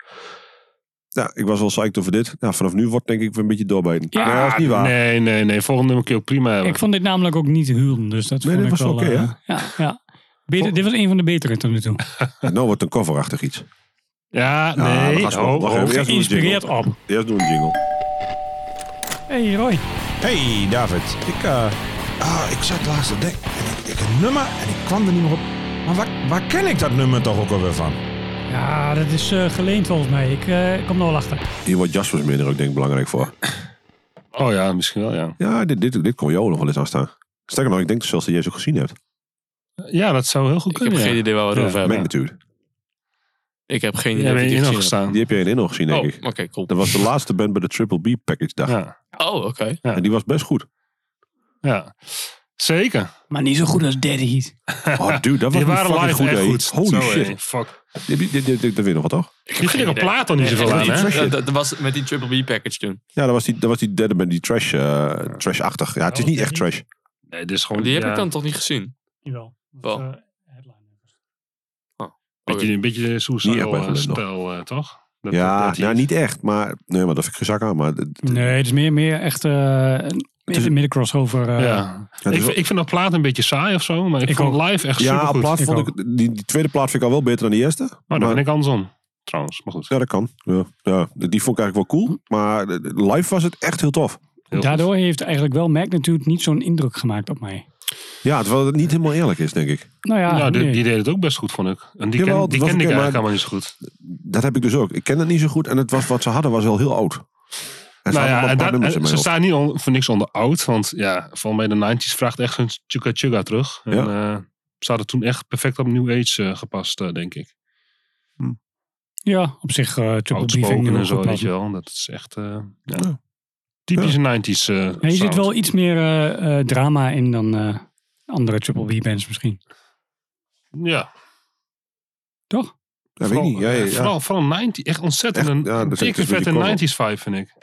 [SPEAKER 3] ja, ik was wel psyched over dit. Nou, vanaf nu wordt denk ik weer een beetje doorbijten.
[SPEAKER 1] Ja.
[SPEAKER 3] nee, dat is niet waar.
[SPEAKER 2] Nee, nee, nee. Volgende nummer kun je ook prima hebben.
[SPEAKER 1] Ik vond dit namelijk ook niet huren, dus dat
[SPEAKER 3] Nee,
[SPEAKER 1] vond
[SPEAKER 3] dit
[SPEAKER 1] ik
[SPEAKER 3] was
[SPEAKER 1] wel...
[SPEAKER 3] oké,
[SPEAKER 1] eh, ja, ja. Beter, dit was een van de betere tot nu toe.
[SPEAKER 3] Nou wordt het een coverachtig iets.
[SPEAKER 2] Ja,
[SPEAKER 3] Ja,
[SPEAKER 2] nee.
[SPEAKER 3] we gaan zo-
[SPEAKER 2] oh,
[SPEAKER 3] wacht
[SPEAKER 2] oh.
[SPEAKER 3] even. Eerst doen we een
[SPEAKER 1] Geïnspireerd
[SPEAKER 3] jingle.
[SPEAKER 1] op.
[SPEAKER 3] Eerst doen we een jingle.
[SPEAKER 1] Hey Roy.
[SPEAKER 7] Hey David, ik, eh, ah, ik zat laatst te denken, ik, ik een nummer en ik kwam er niet meer op. Maar waar, waar ken ik dat nummer toch ook alweer van?
[SPEAKER 1] Ja, dat is eh, geleend volgens mij. Ik eh, kom er wel achter.
[SPEAKER 3] Hier wordt Jasper's minder ook denk ik belangrijk voor.
[SPEAKER 2] Oh ja, misschien wel, ja.
[SPEAKER 3] Ja, dit, dit, dit kon jou nog wel eens aanstaan. Sterker nog, ik denk zelfs dat jij ze ook gezien hebt.
[SPEAKER 2] Ja, dat zou heel goed
[SPEAKER 5] Ik heb
[SPEAKER 2] kunnen.
[SPEAKER 5] geen
[SPEAKER 2] ja.
[SPEAKER 5] idee waar we het
[SPEAKER 2] Ja,
[SPEAKER 5] over
[SPEAKER 3] Magnitude.
[SPEAKER 5] hebben.
[SPEAKER 3] natuurlijk.
[SPEAKER 5] Ik heb geen idee
[SPEAKER 2] Jij
[SPEAKER 5] wat
[SPEAKER 2] bent
[SPEAKER 5] ik gezien
[SPEAKER 2] in nog
[SPEAKER 5] heb.
[SPEAKER 2] gestaan.
[SPEAKER 3] Die heb jij in Inno gezien, denk
[SPEAKER 5] Oh,
[SPEAKER 3] ik.
[SPEAKER 5] oké, cool.
[SPEAKER 3] Dat was de laatste band bij de Triple B Package dag.
[SPEAKER 2] Ja,
[SPEAKER 5] Oh, oké.
[SPEAKER 3] En die was best goed.
[SPEAKER 2] ja. Zeker.
[SPEAKER 1] Maar niet zo goed als Daddy Heat.
[SPEAKER 3] Oh, dude, dat was
[SPEAKER 2] Die
[SPEAKER 3] een
[SPEAKER 2] waren
[SPEAKER 3] fucking
[SPEAKER 2] live
[SPEAKER 3] goed,
[SPEAKER 2] echt
[SPEAKER 3] hè.
[SPEAKER 2] goed.
[SPEAKER 3] Holy
[SPEAKER 2] Zo,
[SPEAKER 3] shit.
[SPEAKER 2] hé, Fuck.
[SPEAKER 3] Dit, dit, dit, dit, dit weet nog wat, toch?
[SPEAKER 2] Die vind ik op
[SPEAKER 5] idee.
[SPEAKER 2] plaat al niet zoveel aan, hè?
[SPEAKER 5] Dat, dat- dat was met die Triple B package toen.
[SPEAKER 3] Ja, dat was die, dat was die derde band, die trash, eh, trash-achtig. Ja,
[SPEAKER 2] Oh,
[SPEAKER 3] het is niet echt trash.
[SPEAKER 2] Nee, dit is gewoon...
[SPEAKER 5] Die heb
[SPEAKER 2] Oh, ja,
[SPEAKER 5] ik dan toch niet gezien?
[SPEAKER 1] Jawel.
[SPEAKER 5] Wel. eh,
[SPEAKER 3] Oh,
[SPEAKER 2] Beetje, een beetje
[SPEAKER 3] Niet echt bij
[SPEAKER 2] suicide
[SPEAKER 3] Gelukkig
[SPEAKER 2] spel, eh, toch? Dat-
[SPEAKER 3] Ja,
[SPEAKER 2] dat- dat-
[SPEAKER 3] nou niet echt, maar... Nee, maar dat vind ik geen zak aan, maar... het- het-
[SPEAKER 1] Nee, het is meer, meer echt eh een midden- midden-crossover. eh,
[SPEAKER 2] Ja.
[SPEAKER 3] het
[SPEAKER 2] Ik,
[SPEAKER 3] is wel-
[SPEAKER 2] vind- ik vind dat plaat een beetje saai of zo, maar ik,
[SPEAKER 1] Ik
[SPEAKER 2] vond live echt
[SPEAKER 3] dus ja, op
[SPEAKER 2] supergoed.
[SPEAKER 3] plaat
[SPEAKER 1] Ik
[SPEAKER 3] vond ik... Die, die tweede plaat vind ik al wel beter dan die eerste.
[SPEAKER 2] Oh,
[SPEAKER 3] maar-
[SPEAKER 2] daar ben ik andersom. Trouwens, maar goed.
[SPEAKER 3] Ja, dat kan. Ja, ja, die vond ik eigenlijk wel cool. Maar eh, live was het echt heel tof.
[SPEAKER 2] Heel
[SPEAKER 1] Daardoor heeft eigenlijk wel Magnitude niet zo'n indruk gemaakt op mij.
[SPEAKER 3] Ja, terwijl het niet helemaal eerlijk is, denk ik.
[SPEAKER 1] Nou ja,
[SPEAKER 2] goed. Ja, die,
[SPEAKER 1] nee.
[SPEAKER 2] die deed het ook best goed, vond ik. En die,
[SPEAKER 3] Jawel,
[SPEAKER 2] ken,
[SPEAKER 3] het
[SPEAKER 2] die
[SPEAKER 3] was
[SPEAKER 2] kende ik
[SPEAKER 3] oké, maar-
[SPEAKER 2] eigenlijk allemaal niet zo goed.
[SPEAKER 3] Dat heb ik dus ook. Ik ken het niet zo goed en het was, wat ze hadden was wel heel oud. En ze
[SPEAKER 2] Nou
[SPEAKER 3] hadden wel
[SPEAKER 2] ja,
[SPEAKER 3] een
[SPEAKER 2] en
[SPEAKER 3] paar
[SPEAKER 2] dat-
[SPEAKER 3] nummers in
[SPEAKER 2] en
[SPEAKER 3] mijn hoofd.
[SPEAKER 2] ze staan niet on- voor niks onder oud. Want ja, volgens mij de 90s vraagt echt hun chugga chugga terug. En,
[SPEAKER 3] Ja.
[SPEAKER 2] eh, ze hadden toen echt perfect op New Age eh, gepast, eh, denk ik.
[SPEAKER 1] ja, op zich eh Triple B vind ik nu
[SPEAKER 2] Outspoken
[SPEAKER 1] wel
[SPEAKER 2] en zo,
[SPEAKER 1] goed
[SPEAKER 2] weet
[SPEAKER 1] passen.
[SPEAKER 2] je wel. Dat is echt eh ja.
[SPEAKER 3] Ja.
[SPEAKER 2] typische 90s eh
[SPEAKER 1] Ja, je ziet
[SPEAKER 2] sound.
[SPEAKER 1] wel iets meer eh, eh, drama in dan eh, andere Triple B bands misschien.
[SPEAKER 2] Ja,
[SPEAKER 1] Toch?
[SPEAKER 3] Dat weet ik niet. Ja, ja, ja.
[SPEAKER 2] Vooral, vooral 90, echt ontzettend
[SPEAKER 3] Echt,
[SPEAKER 2] een
[SPEAKER 3] ja, dat is- het
[SPEAKER 2] dikke
[SPEAKER 3] is een
[SPEAKER 2] vette
[SPEAKER 3] beetje
[SPEAKER 2] 90s vibe, vind ik.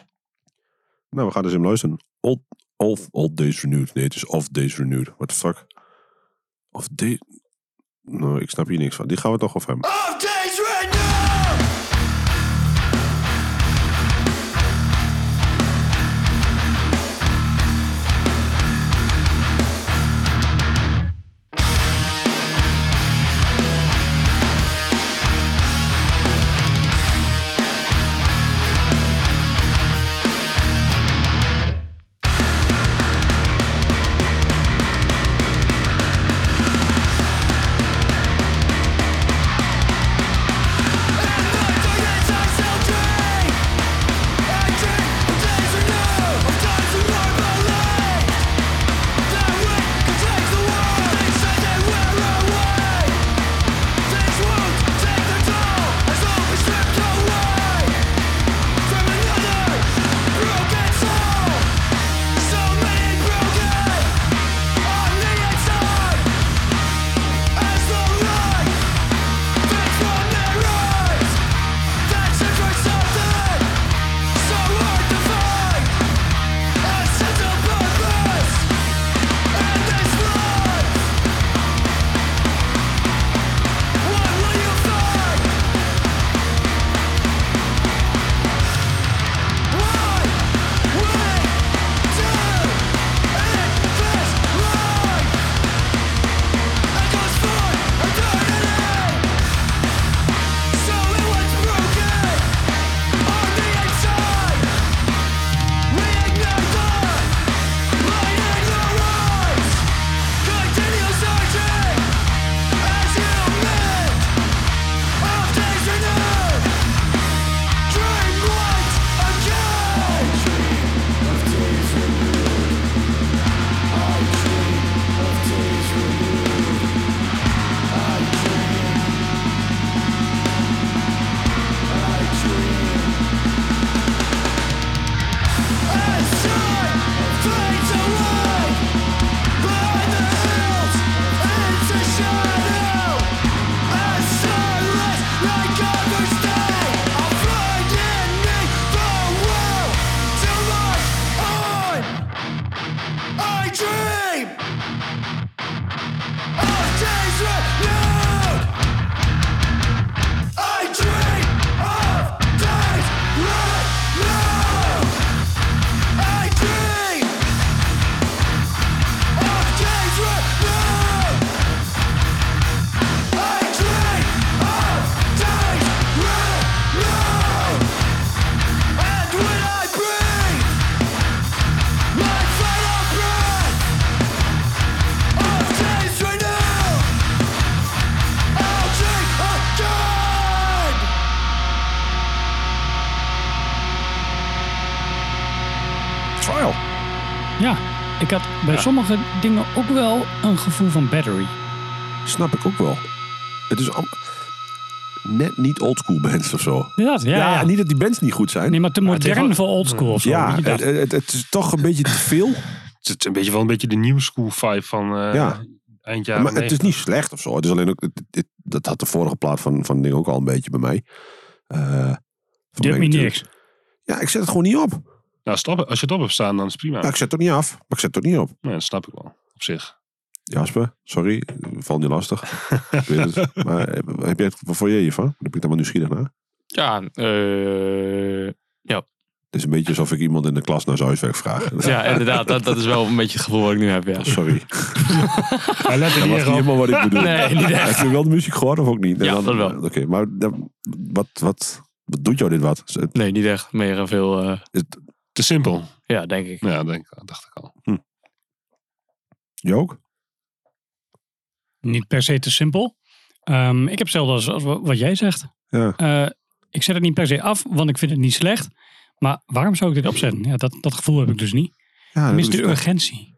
[SPEAKER 3] Nou, we gaan dus hem luisteren. Old, old, old Days Renewed. Nee, het is Off Days Renewed. What the fuck? Of Days... Nou, ik snap hier niks van. Die gaan we toch over hebben.
[SPEAKER 8] Of days right now.
[SPEAKER 3] Ja,
[SPEAKER 1] had bij sommige dingen ook wel een gevoel van battery.
[SPEAKER 3] Snap ik ook wel. Het is am- net niet oldschool bands of zo.
[SPEAKER 1] Inderdaad, ja. ja,
[SPEAKER 3] niet dat die bands niet goed zijn.
[SPEAKER 1] Nee, maar te
[SPEAKER 2] het heeft
[SPEAKER 1] modern
[SPEAKER 2] wel-
[SPEAKER 1] voor oldschool of zo.
[SPEAKER 3] ja,
[SPEAKER 1] weet je dat?
[SPEAKER 3] het, het, het is toch een beetje te veel.
[SPEAKER 2] Het is een beetje wel een beetje de new school vibe van eh
[SPEAKER 3] Ja.
[SPEAKER 2] eind jaren
[SPEAKER 3] maar het is
[SPEAKER 2] 90.
[SPEAKER 3] niet slecht of zo. Het is alleen ook, het- het- dat had de vorige plaat van, van Ding ook al een beetje bij mij. Eh, van
[SPEAKER 1] Dit
[SPEAKER 3] mij
[SPEAKER 1] me
[SPEAKER 3] natuurlijk.
[SPEAKER 1] niks.
[SPEAKER 3] Ja, ik zet het gewoon niet op.
[SPEAKER 2] Nou, stop, als je het op hebt staan, dan is het prima.
[SPEAKER 3] Ja, ik zet het ook niet af, maar ik zet het ook niet op.
[SPEAKER 2] Nee, dat snap ik wel. Op zich.
[SPEAKER 3] Jasper, sorry, valt je lastig. ik weet het. Maar heb- heb jij het wat voor je hiervan? Daar ben ik dan wel nieuwsgierig naar.
[SPEAKER 5] Ja, eh,
[SPEAKER 3] Het is een beetje alsof ik iemand in de klas naar zijn huiswerk vraag.
[SPEAKER 5] ja inderdaad. Dat, dat is wel een beetje het gevoel wat ik nu heb, ja.
[SPEAKER 3] Sorry,
[SPEAKER 2] Hij
[SPEAKER 3] dat was
[SPEAKER 2] let er niet
[SPEAKER 3] niet
[SPEAKER 2] erg op.
[SPEAKER 3] helemaal wat ik bedoel.
[SPEAKER 5] Nee, niet echt.
[SPEAKER 3] Heb je wel de muziek gehoord of ook niet?
[SPEAKER 5] Ja, dat wel.
[SPEAKER 3] Oké, maar dan- wat, wat, wat doet jou dit wat? Is het-
[SPEAKER 5] Nee, niet echt. Meer veel, eh,
[SPEAKER 3] is het-
[SPEAKER 2] Te simpel.
[SPEAKER 5] ja, denk ik.
[SPEAKER 2] Ja, denk, dacht ik al.
[SPEAKER 3] je ook?
[SPEAKER 1] Niet per se te simpel. Ehm, ik heb hetzelfde als, als wat jij zegt.
[SPEAKER 3] Ja.
[SPEAKER 1] Eh, ik zet het niet per se af, want ik vind het niet slecht. Maar waarom zou ik dit opzetten? Ja, dat, dat gevoel heb ik dus niet.
[SPEAKER 3] Ja, dat
[SPEAKER 1] Mis
[SPEAKER 3] is-
[SPEAKER 1] de urgentie.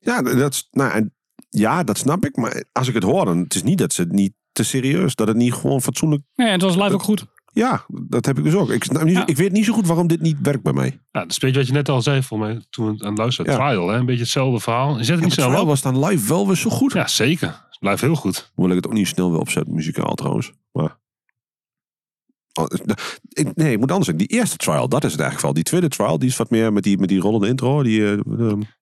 [SPEAKER 3] Ja, dat, is- nou, en, ja, dat snap ik. Maar als ik het hoor, dan het is niet dat ze het niet te serieus. Dat het niet gewoon fatsoenlijk...
[SPEAKER 1] Ja, en het was live ook goed.
[SPEAKER 3] Ja, dat heb ik dus ook. Ik, snap niet,
[SPEAKER 1] Ja.
[SPEAKER 3] ik weet niet zo goed waarom dit niet werkt bij mij.
[SPEAKER 2] Ja, dat is een beetje wat je net al zei voor mij toen we het aan het luisteren.
[SPEAKER 3] Ja.
[SPEAKER 2] Trial, hè? een beetje hetzelfde verhaal. Je zet het
[SPEAKER 3] Ja,
[SPEAKER 2] niet snel
[SPEAKER 3] terwijl
[SPEAKER 2] op.
[SPEAKER 3] was dan live wel weer zo goed.
[SPEAKER 2] Ja, zeker. Het blijft heel goed.
[SPEAKER 3] Hoewel ik het ook niet snel wil opzetten, muzikaal trouwens. Maar... Oh, ik- nee, ik moet anders zeggen. Die eerste trial, dat is het eigenlijk wel. Die tweede trial, die is wat meer met die, met die rollende intro. Die, eh, eh,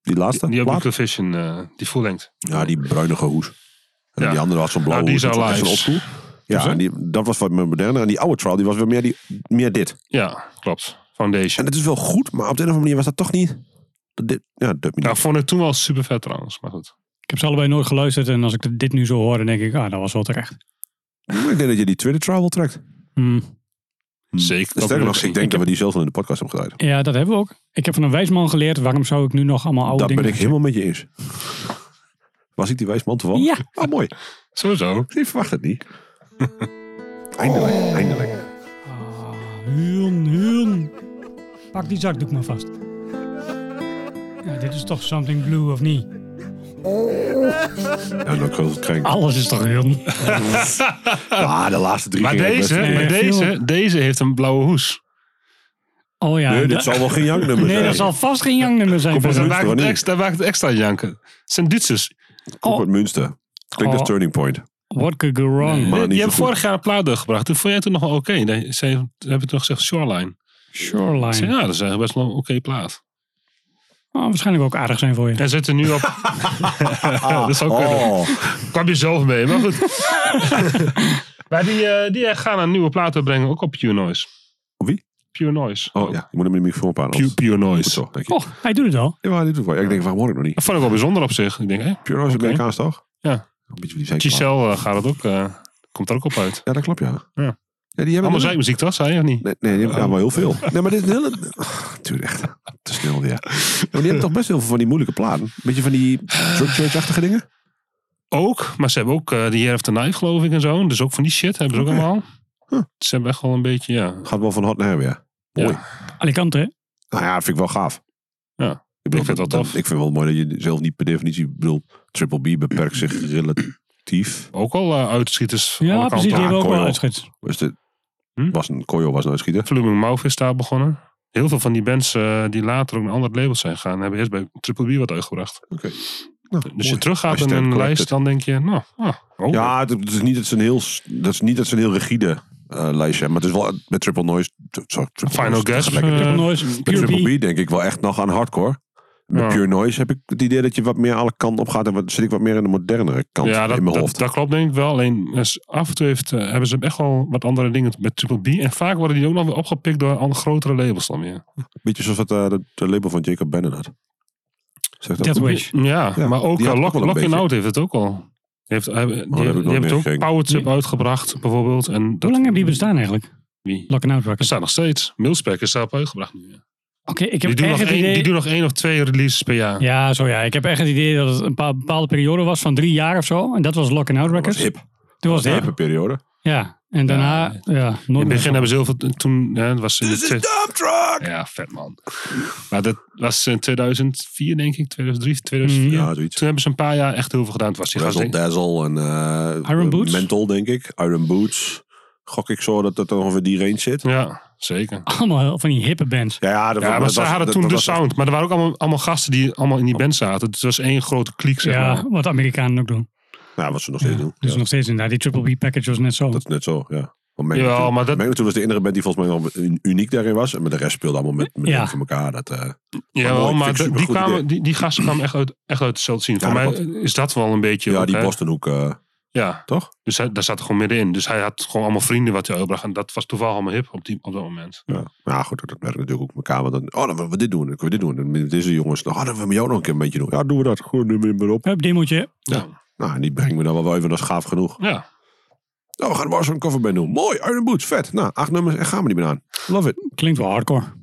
[SPEAKER 3] die laatste.
[SPEAKER 2] Die, die
[SPEAKER 3] plaat.
[SPEAKER 2] Oculus Vision, eh, die full length.
[SPEAKER 3] Ja, die bruinige hoes. En
[SPEAKER 2] Ja.
[SPEAKER 3] die andere had zo'n blauwe
[SPEAKER 2] Nou, die is
[SPEAKER 3] hoes.
[SPEAKER 2] al
[SPEAKER 3] Dat was echt
[SPEAKER 2] live.
[SPEAKER 3] zo'n opschoel. Ja, en die, dat was wat meer moderner. En die oude trial, die was weer meer, die, meer dit.
[SPEAKER 2] Ja, klopt. Foundation.
[SPEAKER 3] En het is wel goed, maar op de een of andere manier was dat toch niet... dat dit- ja, dat
[SPEAKER 2] Nou, vond ik toen wel super vet trouwens. Maar goed.
[SPEAKER 1] Ik heb ze allebei nooit geluisterd. En als ik dit nu zo hoor, dan denk ik, ah, dat was wel terecht.
[SPEAKER 3] Ik denk dat je die tweede trial wel trekt.
[SPEAKER 1] Hmm.
[SPEAKER 2] Zeker.
[SPEAKER 3] Sterker nog, ik denk dat
[SPEAKER 2] heb-
[SPEAKER 3] we die zelf al in de podcast hebben gedraaid.
[SPEAKER 1] Ja, dat hebben we ook. Ik heb van een wijsman geleerd, waarom zou ik nu nog allemaal oude
[SPEAKER 3] Dat
[SPEAKER 1] dingen...
[SPEAKER 3] ben ik helemaal met je eens. Was ik die wijs man toevallig?
[SPEAKER 1] Ja.
[SPEAKER 3] Oh, mooi.
[SPEAKER 2] Sowieso.
[SPEAKER 3] Ik verwacht het niet. Eindelijk, eindelijk.
[SPEAKER 1] Hun, hun. Pak die zakdoek maar vast. Ja, dit is toch something blue of niet?
[SPEAKER 3] Ja, dan kan het krijgen.
[SPEAKER 1] Alles is toch hun?
[SPEAKER 3] Ah, de laatste drie
[SPEAKER 2] Maar
[SPEAKER 3] gingen het
[SPEAKER 2] deze,
[SPEAKER 3] best
[SPEAKER 1] Nee,
[SPEAKER 2] maar
[SPEAKER 3] mee.
[SPEAKER 2] deze,
[SPEAKER 1] veel.
[SPEAKER 2] deze heeft een blauwe hoes.
[SPEAKER 1] Oh ja.
[SPEAKER 3] Nee,
[SPEAKER 1] da-
[SPEAKER 3] dit zal wel geen janknummer
[SPEAKER 1] nee
[SPEAKER 3] zijn.
[SPEAKER 1] dat zal vast geen jangnummer zijn.
[SPEAKER 3] Kom
[SPEAKER 2] Dus
[SPEAKER 3] op,
[SPEAKER 2] dat
[SPEAKER 3] Münster,
[SPEAKER 2] maakt, het
[SPEAKER 3] wanneer?
[SPEAKER 2] extra, dat maakt het extra janken. Het zijn Duitsers.
[SPEAKER 3] Kom uit Münster. Klinkt als
[SPEAKER 1] Oh.
[SPEAKER 3] Turning Point.
[SPEAKER 1] What could go wrong?
[SPEAKER 3] Maar niet
[SPEAKER 2] Die, die
[SPEAKER 3] zo
[SPEAKER 2] hebben
[SPEAKER 3] goed.
[SPEAKER 2] vorig jaar een plaat doorgebracht. Toen vond jij het toen nog wel oké. Nee, Ze hebben toen nog gezegd Shoreline. Ik zei,
[SPEAKER 1] Shoreline.
[SPEAKER 2] ja, dat is eigenlijk best wel een oké plaat.
[SPEAKER 1] Oh, waarschijnlijk ook aardig zijn voor je.
[SPEAKER 2] En zit er nu op. dat zou kunnen.
[SPEAKER 3] Oh,
[SPEAKER 2] Kwam je zelf mee, maar goed. maar die, eh, die gaan een nieuwe plaat uitbrengen, ook op Pure Noise.
[SPEAKER 3] Op wie?
[SPEAKER 2] Pure Noise.
[SPEAKER 3] oh ja, je moet hem in de microfoon aan.
[SPEAKER 2] Pure, Pure
[SPEAKER 3] Goed
[SPEAKER 2] Noise.
[SPEAKER 3] zo, denk je.
[SPEAKER 1] Oh, hij doet het al.
[SPEAKER 3] Ja, maar dit doet wel. Ik denk, waarom hoor ik nog niet?
[SPEAKER 2] Dat vond ik wel bijzonder op zich. Ik denk, hè,
[SPEAKER 3] Pure Noise
[SPEAKER 2] Oké.
[SPEAKER 3] Amerikaans toch?
[SPEAKER 2] Ja.
[SPEAKER 3] Een beetje wie die zijn.
[SPEAKER 2] Giselle eh, gaat het ook, eh, komt er ook op uit.
[SPEAKER 3] Ja, dat klopt, ja.
[SPEAKER 2] Ja.
[SPEAKER 3] die hebben
[SPEAKER 2] Allemaal
[SPEAKER 3] een-
[SPEAKER 2] zijmuziek toch, zei je of niet?
[SPEAKER 3] Nee, nee die hebben ja, maar heel veel. Nee, maar dit is een hele... Ah, Tuurlijk, echt. Te snel weer. Ja, maar die hebben toch best heel veel van die moeilijke platen. Beetje van die drug church-achtige dingen.
[SPEAKER 2] Ook, maar ze hebben ook eh The Year of the Knife, geloof ik, en zo. Dus ook van die shit hebben ze ook
[SPEAKER 3] Oké.
[SPEAKER 2] allemaal. Dus Ze hebben echt wel een beetje, ja.
[SPEAKER 3] Gaat wel van hot naar her weer. Mooi.
[SPEAKER 1] Alicante, hè?
[SPEAKER 3] Nou ja, vind ik wel gaaf.
[SPEAKER 2] Ja,
[SPEAKER 3] bedoel,
[SPEAKER 2] ik vind het wel
[SPEAKER 3] dat-
[SPEAKER 2] tof.
[SPEAKER 3] Ik vind wel mooi dat je zelf niet per definitie... Ik bedoel, Triple B beperkt zich relatief.
[SPEAKER 2] Ook al eh, uitschieters. van alle
[SPEAKER 1] Ja, precies. Die
[SPEAKER 2] kanten.
[SPEAKER 1] hebben ook
[SPEAKER 3] Kooi
[SPEAKER 1] wel
[SPEAKER 3] al.
[SPEAKER 1] uitschets.
[SPEAKER 3] Was de,
[SPEAKER 2] Hm?
[SPEAKER 3] was een, Koyo was een uitschieter.
[SPEAKER 2] Flaming Mouth is daar begonnen. Heel veel van die bands eh, die later ook naar andere labels zijn gegaan, hebben eerst bij Triple B wat uitgebracht.
[SPEAKER 3] Oké. Nou,
[SPEAKER 2] Dus je
[SPEAKER 3] mooi.
[SPEAKER 2] teruggaat
[SPEAKER 3] Als je
[SPEAKER 2] in
[SPEAKER 3] het
[SPEAKER 2] een
[SPEAKER 3] correct
[SPEAKER 2] lijst,
[SPEAKER 3] hebt.
[SPEAKER 2] dan denk je, nou, ah, oh,
[SPEAKER 3] Ja, het, het is niet dat ze een heel, s- dat is niet dat ze een heel rigide eh, lijstje hebben. Maar het is wel eh, met Triple Noise... t- Sorry, triple
[SPEAKER 2] Final
[SPEAKER 3] noise,
[SPEAKER 2] Gasp,
[SPEAKER 3] gesprekken.
[SPEAKER 2] eh,
[SPEAKER 1] Triple Noise,
[SPEAKER 3] Met
[SPEAKER 1] Pure
[SPEAKER 3] Triple
[SPEAKER 1] B.
[SPEAKER 3] B denk ik wel echt nog aan hardcore. Met
[SPEAKER 2] Ja.
[SPEAKER 3] Pure Noise heb ik het idee dat je wat meer alle kanten op gaat. En wat, zit ik wat meer in de modernere kant
[SPEAKER 2] ja dat,
[SPEAKER 3] in mijn
[SPEAKER 2] dat,
[SPEAKER 3] hoofd.
[SPEAKER 2] dat klopt denk ik wel. Alleen eh, af en toe heeft, eh, hebben ze echt wel wat andere dingen met Triple B. En vaak worden die ook nog weer opgepikt door andere grotere labels dan weer.
[SPEAKER 3] Beetje zoals wat eh, de, de label van Jacob Bannon had. Zeg dat?
[SPEAKER 1] Death Wish.
[SPEAKER 2] Ja,
[SPEAKER 3] Ja,
[SPEAKER 2] maar ook
[SPEAKER 3] die had
[SPEAKER 2] eh,
[SPEAKER 3] ook
[SPEAKER 2] Lock,
[SPEAKER 3] wel een
[SPEAKER 2] Lock In
[SPEAKER 3] beetje. Oh,
[SPEAKER 2] Out heeft het ook al. Die heeft, eh, die,
[SPEAKER 3] heb ik nog
[SPEAKER 2] die heeft ook
[SPEAKER 3] meegekregen.
[SPEAKER 2] Power Trip uitgebracht bijvoorbeeld. En dat,
[SPEAKER 1] Hoe lang hebben die bestaan eigenlijk?
[SPEAKER 2] Wie?
[SPEAKER 1] Lock and Out
[SPEAKER 2] Er
[SPEAKER 1] Rockers.
[SPEAKER 2] staat nog steeds. Milspec is daarop uitgebracht nu. ja.
[SPEAKER 1] Oké, ik
[SPEAKER 2] Die
[SPEAKER 1] heb
[SPEAKER 2] doen,
[SPEAKER 1] echt
[SPEAKER 2] nog
[SPEAKER 1] het
[SPEAKER 2] één, die
[SPEAKER 1] idee...
[SPEAKER 2] doen nog één of twee releases per jaar.
[SPEAKER 1] Ja, zo ja. Ik heb echt het idee dat het een paar- bepaalde periode was van drie jaar of zo. En dat was Lock and Out
[SPEAKER 3] Dat was
[SPEAKER 1] Records.
[SPEAKER 3] hip.
[SPEAKER 1] Toen was
[SPEAKER 3] Dat was
[SPEAKER 1] het
[SPEAKER 3] een
[SPEAKER 1] hip.
[SPEAKER 3] hippe periode.
[SPEAKER 1] Ja. En daarna, ja, nooit
[SPEAKER 2] In
[SPEAKER 1] meer.
[SPEAKER 2] het begin hebben ze heel veel... Toen hè, het was in
[SPEAKER 7] This
[SPEAKER 2] de
[SPEAKER 7] is dump truck!
[SPEAKER 2] Ja, vet man. Maar dat was in 2004, denk ik. 2003, 2004.
[SPEAKER 3] Ja,
[SPEAKER 1] Mhm.
[SPEAKER 3] zoiets.
[SPEAKER 2] Toen hebben ze een paar jaar echt heel veel gedaan. Toen was die gast
[SPEAKER 3] Razzle
[SPEAKER 2] denk ik-
[SPEAKER 3] Dazzle en eh,
[SPEAKER 1] Iron Boots?
[SPEAKER 3] Menthol, denk ik. Iron Boots. Gok ik zo dat dat ongeveer die range zit.
[SPEAKER 2] Ja, zeker.
[SPEAKER 1] Allemaal heel- van die hippe bands.
[SPEAKER 3] Ja, ja, dat was-
[SPEAKER 2] Ja, maar
[SPEAKER 3] dat
[SPEAKER 2] ze
[SPEAKER 3] was-
[SPEAKER 2] hadden
[SPEAKER 3] dat-
[SPEAKER 2] toen
[SPEAKER 3] dat
[SPEAKER 2] de
[SPEAKER 3] was-
[SPEAKER 2] sound. Maar er waren ook allemaal, allemaal gasten die allemaal in die band zaten. Dus het was één grote kliek, zeg
[SPEAKER 1] ja,
[SPEAKER 2] maar.
[SPEAKER 1] wat de Amerikanen ook doen.
[SPEAKER 3] Ja, wat ze nog steeds doen.
[SPEAKER 1] Dus
[SPEAKER 3] Ja,
[SPEAKER 1] nog steeds inderdaad, die Triple B package was net zo.
[SPEAKER 3] Dat is net zo, ja. Maar
[SPEAKER 2] Jawel,
[SPEAKER 3] Magnitude,
[SPEAKER 2] maar dat-
[SPEAKER 3] Magnitude was de enige band die volgens mij nog un- uniek daarin was. En met de rest speelde allemaal met, met
[SPEAKER 1] Ja.
[SPEAKER 3] dingen voor elkaar. Dat, eh,
[SPEAKER 2] Ja,
[SPEAKER 3] mooi,
[SPEAKER 2] wel,
[SPEAKER 3] ik
[SPEAKER 2] maar
[SPEAKER 3] vind het
[SPEAKER 2] de- die,
[SPEAKER 3] supergoed
[SPEAKER 2] kwamen,
[SPEAKER 3] idee.
[SPEAKER 2] die, die gasten kwamen echt uit, echt uit hetzelfde zien.
[SPEAKER 3] Ja,
[SPEAKER 2] Voor mij
[SPEAKER 3] dat
[SPEAKER 2] is dat wel een beetje...
[SPEAKER 3] ja,
[SPEAKER 2] wat,
[SPEAKER 3] die
[SPEAKER 2] hè.
[SPEAKER 3] Bostonhoek, eh
[SPEAKER 2] Ja,
[SPEAKER 3] toch?
[SPEAKER 2] dus hij, daar zat er gewoon middenin. Dus hij had gewoon allemaal vrienden wat hij uitbracht. En dat was toevallig allemaal hip op, die, op dat moment.
[SPEAKER 3] Ja. Nou goed, dat werkt natuurlijk ook met elkaar. Want dan, oh, dan willen we dit doen, dan kunnen we dit doen. En met deze jongens, dan oh, dan willen we jou nog een keer een beetje doen. Ja, doen we dat. Goed, nu meer op.
[SPEAKER 1] Hup, demootje.
[SPEAKER 2] Ja.
[SPEAKER 3] Nou, en die brengen we dan wel wel even, dat is gaaf genoeg.
[SPEAKER 2] Ja.
[SPEAKER 3] Nou, we gaan er wel zo'n coverband doen. Mooi, Iron Boots, vet. Nou, acht nummers en gaan we niet meer aan. Love it.
[SPEAKER 1] Klinkt wel hardcore.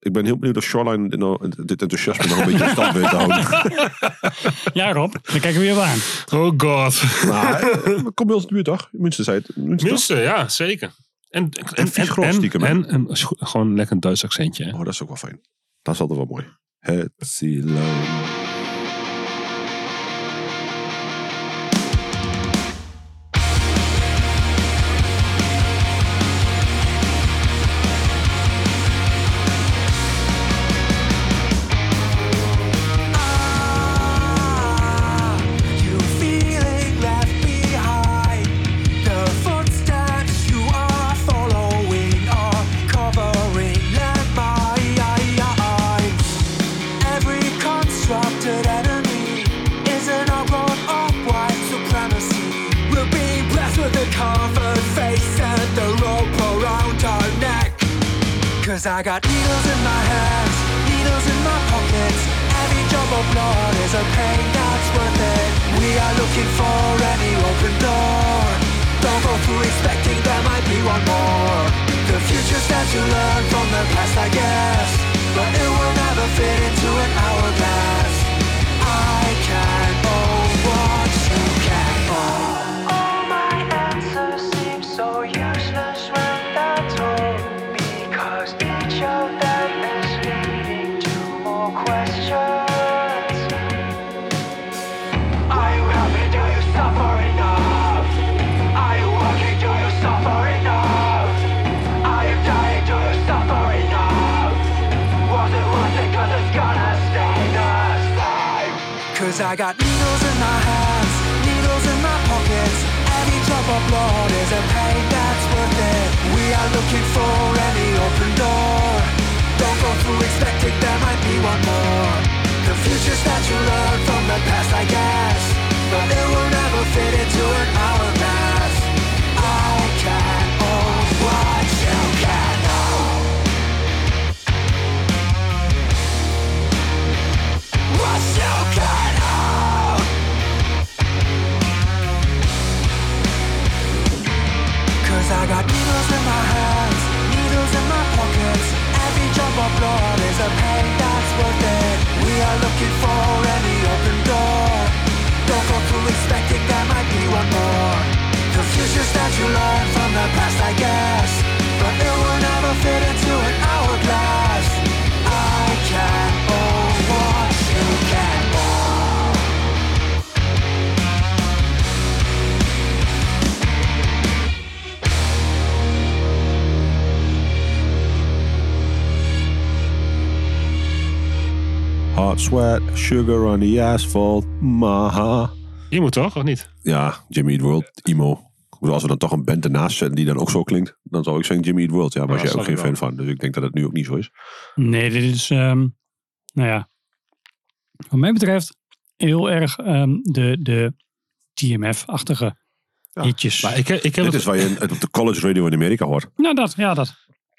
[SPEAKER 3] Ik ben heel benieuwd of Shoreline dit nou- dit enthousiasme nog een beetje in stand weet te houden.
[SPEAKER 1] Ja, Rob, dan kijken we je wel aan.
[SPEAKER 2] Oh god.
[SPEAKER 3] Maar eh, kom bij ons in de buurt, toch? Minstens zei het. Minstens.
[SPEAKER 2] Minste, ja, zeker. En, en,
[SPEAKER 3] vies grof stiekem, hè?
[SPEAKER 2] en een scho- gewoon lekker een Duits accentje. hè.
[SPEAKER 3] Oh, dat is ook wel fijn. Dat is altijd wel mooi. Het Siloam.
[SPEAKER 6] You feeling left behind? The footsteps you are following are covering landmines. Every constructed enemy is an outgrowth of white supremacy. We're being blessed with a covered face and the rope around our neck. Cause I got needles in my hands, needles in my pockets. Every drop of blood is a pain that's worth it. We are looking for any open door. Don't go through expecting there might be one more. The future's that you learn from the past, I guess. But it will never fit into an hourglass. I can own what you can own. All my answers seem so useless when they're told Because each of them is leading to more questions Are you happy? Do you suffer enough? Are you working? Do you suffer enough? Are you dying? Do you suffer enough? Was it worth it? Cause it's gonna stay the same Cause I got needles in my hands, needles in my pockets. Any drop of blood is a pain that's worth it. We are looking for any open door. Don't go through expecting there might be one more. The future's that you learn from the past, I guess. But it will never fit into an hourglass. I can own what you can own. What you can own. Cause I got needles in my hands, needles in my pockets. Every drop of blood is a pain that's worth it. We are looking for any open door. Don't go through expecting there might be one more. The future's that you learn from the past, I guess. But it will never fit into an hourglass. I can own what you can own.
[SPEAKER 3] Hot sweat, sugar on the asphalt, maha.
[SPEAKER 2] Je moet toch, of niet?
[SPEAKER 3] Ja, Jimmy Eat World, emo. Ik bedoel, Als we dan toch een band ernaast zetten die dan ook zo klinkt, dan zou ik zeggen Jimmy Eat World. Ja,
[SPEAKER 2] Ja,
[SPEAKER 3] was jij
[SPEAKER 2] snap
[SPEAKER 3] ook geen
[SPEAKER 2] ik wel.
[SPEAKER 3] fan van. Dus ik denk dat het nu ook niet zo is.
[SPEAKER 1] Nee, dit is, ehm, nou ja, wat mij betreft heel erg ehm, de, de TMF-achtige
[SPEAKER 3] Ja,
[SPEAKER 1] hitjes.
[SPEAKER 2] Maar ik, heb- ik heb
[SPEAKER 3] Dit
[SPEAKER 2] het,
[SPEAKER 3] is waar je het op de college radio in Amerika hoort.
[SPEAKER 1] Nou, dat, ja, dat.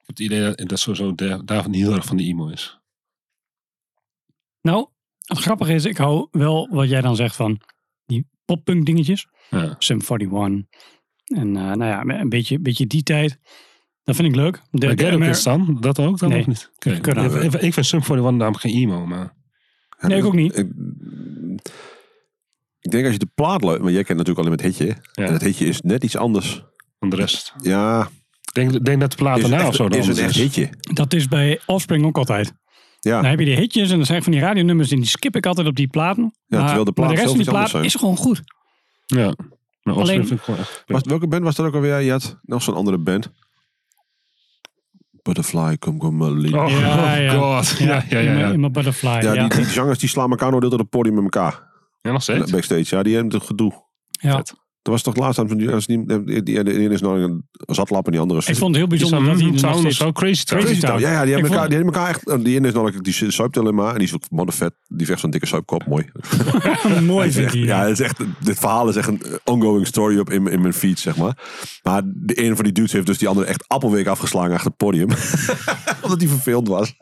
[SPEAKER 2] het idee dat, dat sowieso da- David niet heel erg van de emo is.
[SPEAKER 1] Nou, het grappige is, ik hou wel wat jij dan zegt van die poppunk dingetjes.
[SPEAKER 2] Ja.
[SPEAKER 1] Sum 41. En eh, nou ja, een beetje, beetje die tijd. Dat vind ik leuk. De,
[SPEAKER 2] Maar
[SPEAKER 1] de
[SPEAKER 2] Gerrit
[SPEAKER 1] Amer-
[SPEAKER 2] is dan? Dat ook? Dan
[SPEAKER 1] Nee.
[SPEAKER 2] nog niet? Oké.
[SPEAKER 1] Ik kan dat
[SPEAKER 2] Ik- Ik, ik vind Sum 41 namelijk geen emo, maar...
[SPEAKER 3] Ja,
[SPEAKER 1] Nee, ik ook niet.
[SPEAKER 3] Ik, ik denk als je de plaat luidt, maar jij kent natuurlijk alleen het hitje.
[SPEAKER 2] Ja.
[SPEAKER 3] En het hitje is net iets anders.
[SPEAKER 2] dan de rest.
[SPEAKER 3] Ja,
[SPEAKER 2] Ik denk, denk dat de plaat
[SPEAKER 3] is het
[SPEAKER 2] daarna nou of
[SPEAKER 3] echt,
[SPEAKER 2] zo dan
[SPEAKER 3] is het
[SPEAKER 2] anders
[SPEAKER 3] echt
[SPEAKER 2] is.
[SPEAKER 3] hitje.
[SPEAKER 1] Dat is bij Offspring ook altijd.
[SPEAKER 3] Ja,
[SPEAKER 1] Dan heb je die hitjes en dan zijn van die radionummers en die skip ik altijd op die platen. maar,
[SPEAKER 3] terwijl de plaat
[SPEAKER 1] maar de rest
[SPEAKER 3] zelf
[SPEAKER 1] van die plaat
[SPEAKER 3] iets anders zijn.
[SPEAKER 1] is gewoon goed.
[SPEAKER 2] Ja. Maar Offspring
[SPEAKER 1] Alleen-
[SPEAKER 2] vind ik gewoon echt-
[SPEAKER 3] Was, welke band was dat ook alweer? Je had nog zo'n andere band. Butterfly, Come Come Lily.
[SPEAKER 2] Oh,
[SPEAKER 1] Ja, ja.
[SPEAKER 2] god. Ja, ja, ja.
[SPEAKER 1] in mijn-
[SPEAKER 2] ja.
[SPEAKER 1] In mijn Butterfly.
[SPEAKER 3] ja,
[SPEAKER 1] Ja,
[SPEAKER 3] Die, die zangers die slaan elkaar nooit op het podium met elkaar.
[SPEAKER 2] Ja, nog steeds.
[SPEAKER 3] Backstage, ja, die hebben het gedoe.
[SPEAKER 1] Ja.
[SPEAKER 2] Vet.
[SPEAKER 3] Dat was toch laatst aan die, als die, die, die, de ene is nou een zatlap en die andere is...
[SPEAKER 1] Ik vond het heel
[SPEAKER 2] Is dat
[SPEAKER 1] bijzonder dat hij
[SPEAKER 2] Mountain
[SPEAKER 1] er nog
[SPEAKER 2] Town of
[SPEAKER 1] steeds...
[SPEAKER 2] zo? Crazy Town.
[SPEAKER 1] Crazy
[SPEAKER 3] Crazy Town.
[SPEAKER 1] Town.
[SPEAKER 3] Ja, ja, die
[SPEAKER 1] Ik
[SPEAKER 3] hebben elkaar,
[SPEAKER 1] vond-
[SPEAKER 3] die hebben elkaar echt... Die ene is nou die zuipt alleen maar en die is ook moddervet. Die vecht zo'n dikke zuipkop, mooi.
[SPEAKER 1] Mooi vind ik.
[SPEAKER 3] Ja,
[SPEAKER 1] Ja.
[SPEAKER 3] het is echt, dit verhaal is echt een ongoing story op in, in mijn feed, zeg maar. Maar de ene van die dudes heeft dus die andere echt appelweek afgeslagen achter het podium. Omdat hij verveeld was.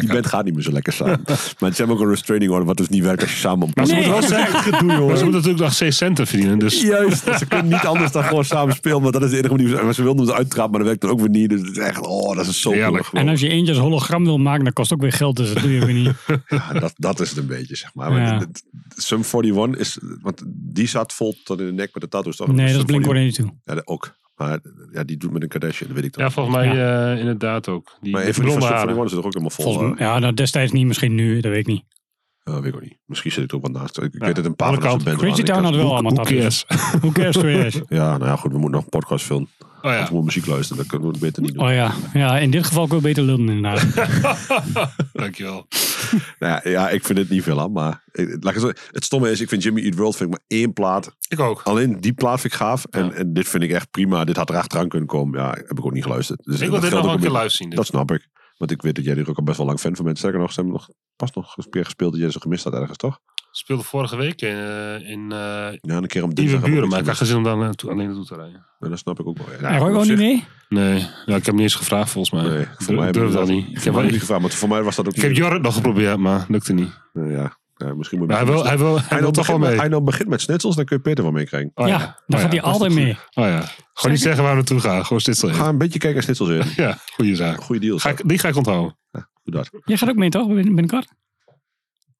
[SPEAKER 3] Die band gaat niet meer zo lekker samen. maar ze hebben ook een restraining order, wat dus niet werkt als je samen op
[SPEAKER 2] Maar ze
[SPEAKER 1] Nee.
[SPEAKER 2] moeten wel zeggen,
[SPEAKER 3] gedoe,
[SPEAKER 2] maar ze moeten natuurlijk nog steeds centen verdienen. Dus
[SPEAKER 3] Juist, ze kunnen niet anders dan gewoon samen spelen. Want dat is de enige manier. Maar ze wilden hem uittrappen, maar dat werkt dan ook weer niet. Dus het is echt, oh, dat is zo
[SPEAKER 2] Heerlijk.
[SPEAKER 1] En als je eentje als hologram wil maken, dan kost het ook weer geld. Dus dat doe je weer niet.
[SPEAKER 3] Ja, dat, dat is het een beetje, zeg maar.
[SPEAKER 1] Ja.
[SPEAKER 3] Maar dit- dit- Sum 41 is... Want die zat vol tot in de nek met de tattoos. toch? Dus
[SPEAKER 1] Nee,
[SPEAKER 3] Sum
[SPEAKER 1] dat is
[SPEAKER 3] 41
[SPEAKER 1] Blink-182.
[SPEAKER 3] Ja, dat ook. Maar ja, die doet met een Kardashian, dat weet ik toch.
[SPEAKER 2] ja, volgens mij eh, inderdaad ook. Die,
[SPEAKER 3] maar
[SPEAKER 2] die
[SPEAKER 3] even die van
[SPEAKER 2] blonde
[SPEAKER 3] Sum
[SPEAKER 2] haren.
[SPEAKER 3] 41 is er ook helemaal vol.
[SPEAKER 1] Volgens mij. Ja, nou, destijds niet. Misschien nu. Dat weet ik niet.
[SPEAKER 3] Eh, weet ik ook niet. Misschien zit ik er ook wat naast. Ik, ik
[SPEAKER 2] Ja,
[SPEAKER 3] weet het een paar
[SPEAKER 2] aan
[SPEAKER 3] van
[SPEAKER 2] de
[SPEAKER 3] dat
[SPEAKER 2] kant.
[SPEAKER 3] soort bands
[SPEAKER 1] Crazy
[SPEAKER 3] waren.
[SPEAKER 1] Town
[SPEAKER 3] Ik
[SPEAKER 1] had wel
[SPEAKER 3] had-
[SPEAKER 1] allemaal
[SPEAKER 2] Who
[SPEAKER 1] tattoos.
[SPEAKER 2] cares?
[SPEAKER 1] Hoe cares to cares?
[SPEAKER 3] Ja, nou ja, goed. We moeten nog een podcast filmen. We
[SPEAKER 2] Oh
[SPEAKER 3] moeten muziek luisteren. Dat kunnen we beter niet doen.
[SPEAKER 1] Oh ja. ja, in dit geval ook wel beter lullen inderdaad.
[SPEAKER 2] ja, dankjewel.
[SPEAKER 3] Nou ja, ja, ik vind het niet veel aan. Maar eh, laat ik het, zo- het stomme is, ik vind Jimmy Eat World vind ik maar één plaat.
[SPEAKER 2] Ik ook.
[SPEAKER 3] Alleen die plaat vind ik gaaf. En, en dit vind ik echt prima. Dit had er achteraan kunnen komen. Ja, heb ik ook niet geluisterd. Dus
[SPEAKER 2] Ik wil
[SPEAKER 3] dat
[SPEAKER 2] dit
[SPEAKER 3] geldt
[SPEAKER 2] nog wel
[SPEAKER 3] ook
[SPEAKER 2] een keer
[SPEAKER 3] meer-
[SPEAKER 2] luisteren. dit.
[SPEAKER 3] Dat snap ik. Want ik weet dat jij er ook al best wel lang fan van bent. Sterker nog, ze hebben nog pas nog een keer gespeeld dat jij ze gemist had ergens, toch?
[SPEAKER 2] speelde vorige week in, eh in eh
[SPEAKER 3] Ja, een keer om
[SPEAKER 2] Nieuwe
[SPEAKER 3] dinsdag heb
[SPEAKER 2] Buren,
[SPEAKER 3] ik
[SPEAKER 2] maar ik
[SPEAKER 3] iets
[SPEAKER 2] had geen zin om daar naartoe- alleen naartoe te rijden.
[SPEAKER 3] gemist. Ja, dat snap ik ook wel. Ja,
[SPEAKER 1] en Roy
[SPEAKER 3] op
[SPEAKER 1] wou
[SPEAKER 3] zich-
[SPEAKER 1] niet mee?
[SPEAKER 2] Nee, ja, ik heb niet eens gevraagd volgens mij.
[SPEAKER 3] Nee,
[SPEAKER 2] ik
[SPEAKER 3] voor mij
[SPEAKER 2] durf,
[SPEAKER 3] hebben we
[SPEAKER 2] dat niet. Ik heb,
[SPEAKER 3] Voor mij niet
[SPEAKER 2] ik,
[SPEAKER 3] gevraagd, maar voor mij was dat ook
[SPEAKER 2] ik heb
[SPEAKER 3] niet.
[SPEAKER 2] Jorrit nog geprobeerd, maar lukte niet.
[SPEAKER 3] Ja, ja, ja, misschien moet
[SPEAKER 2] Maar hij wil, hij wil, hij wil
[SPEAKER 3] dan
[SPEAKER 2] toch
[SPEAKER 3] begint
[SPEAKER 2] wel mee.
[SPEAKER 3] met, hij dan begint met schnitzels, dan kun je Peter wel meekrijgen.
[SPEAKER 2] Oh
[SPEAKER 1] ja,
[SPEAKER 2] Oh
[SPEAKER 1] dan gaat hij
[SPEAKER 2] dat is
[SPEAKER 1] altijd
[SPEAKER 2] toch
[SPEAKER 1] mee.
[SPEAKER 2] goed. Oh ja. Gewoon niet zeggen waar we naartoe gaan. Gewoon dit zo.
[SPEAKER 3] Ga een beetje kijken naar schnitzels in.
[SPEAKER 2] Ja, goede zaak.
[SPEAKER 3] Goeie deal.
[SPEAKER 2] Ga ik, die ga ik onthouden.
[SPEAKER 3] Doe dat.
[SPEAKER 1] Jij gaat ook mee toch? Bin- Binnenkort?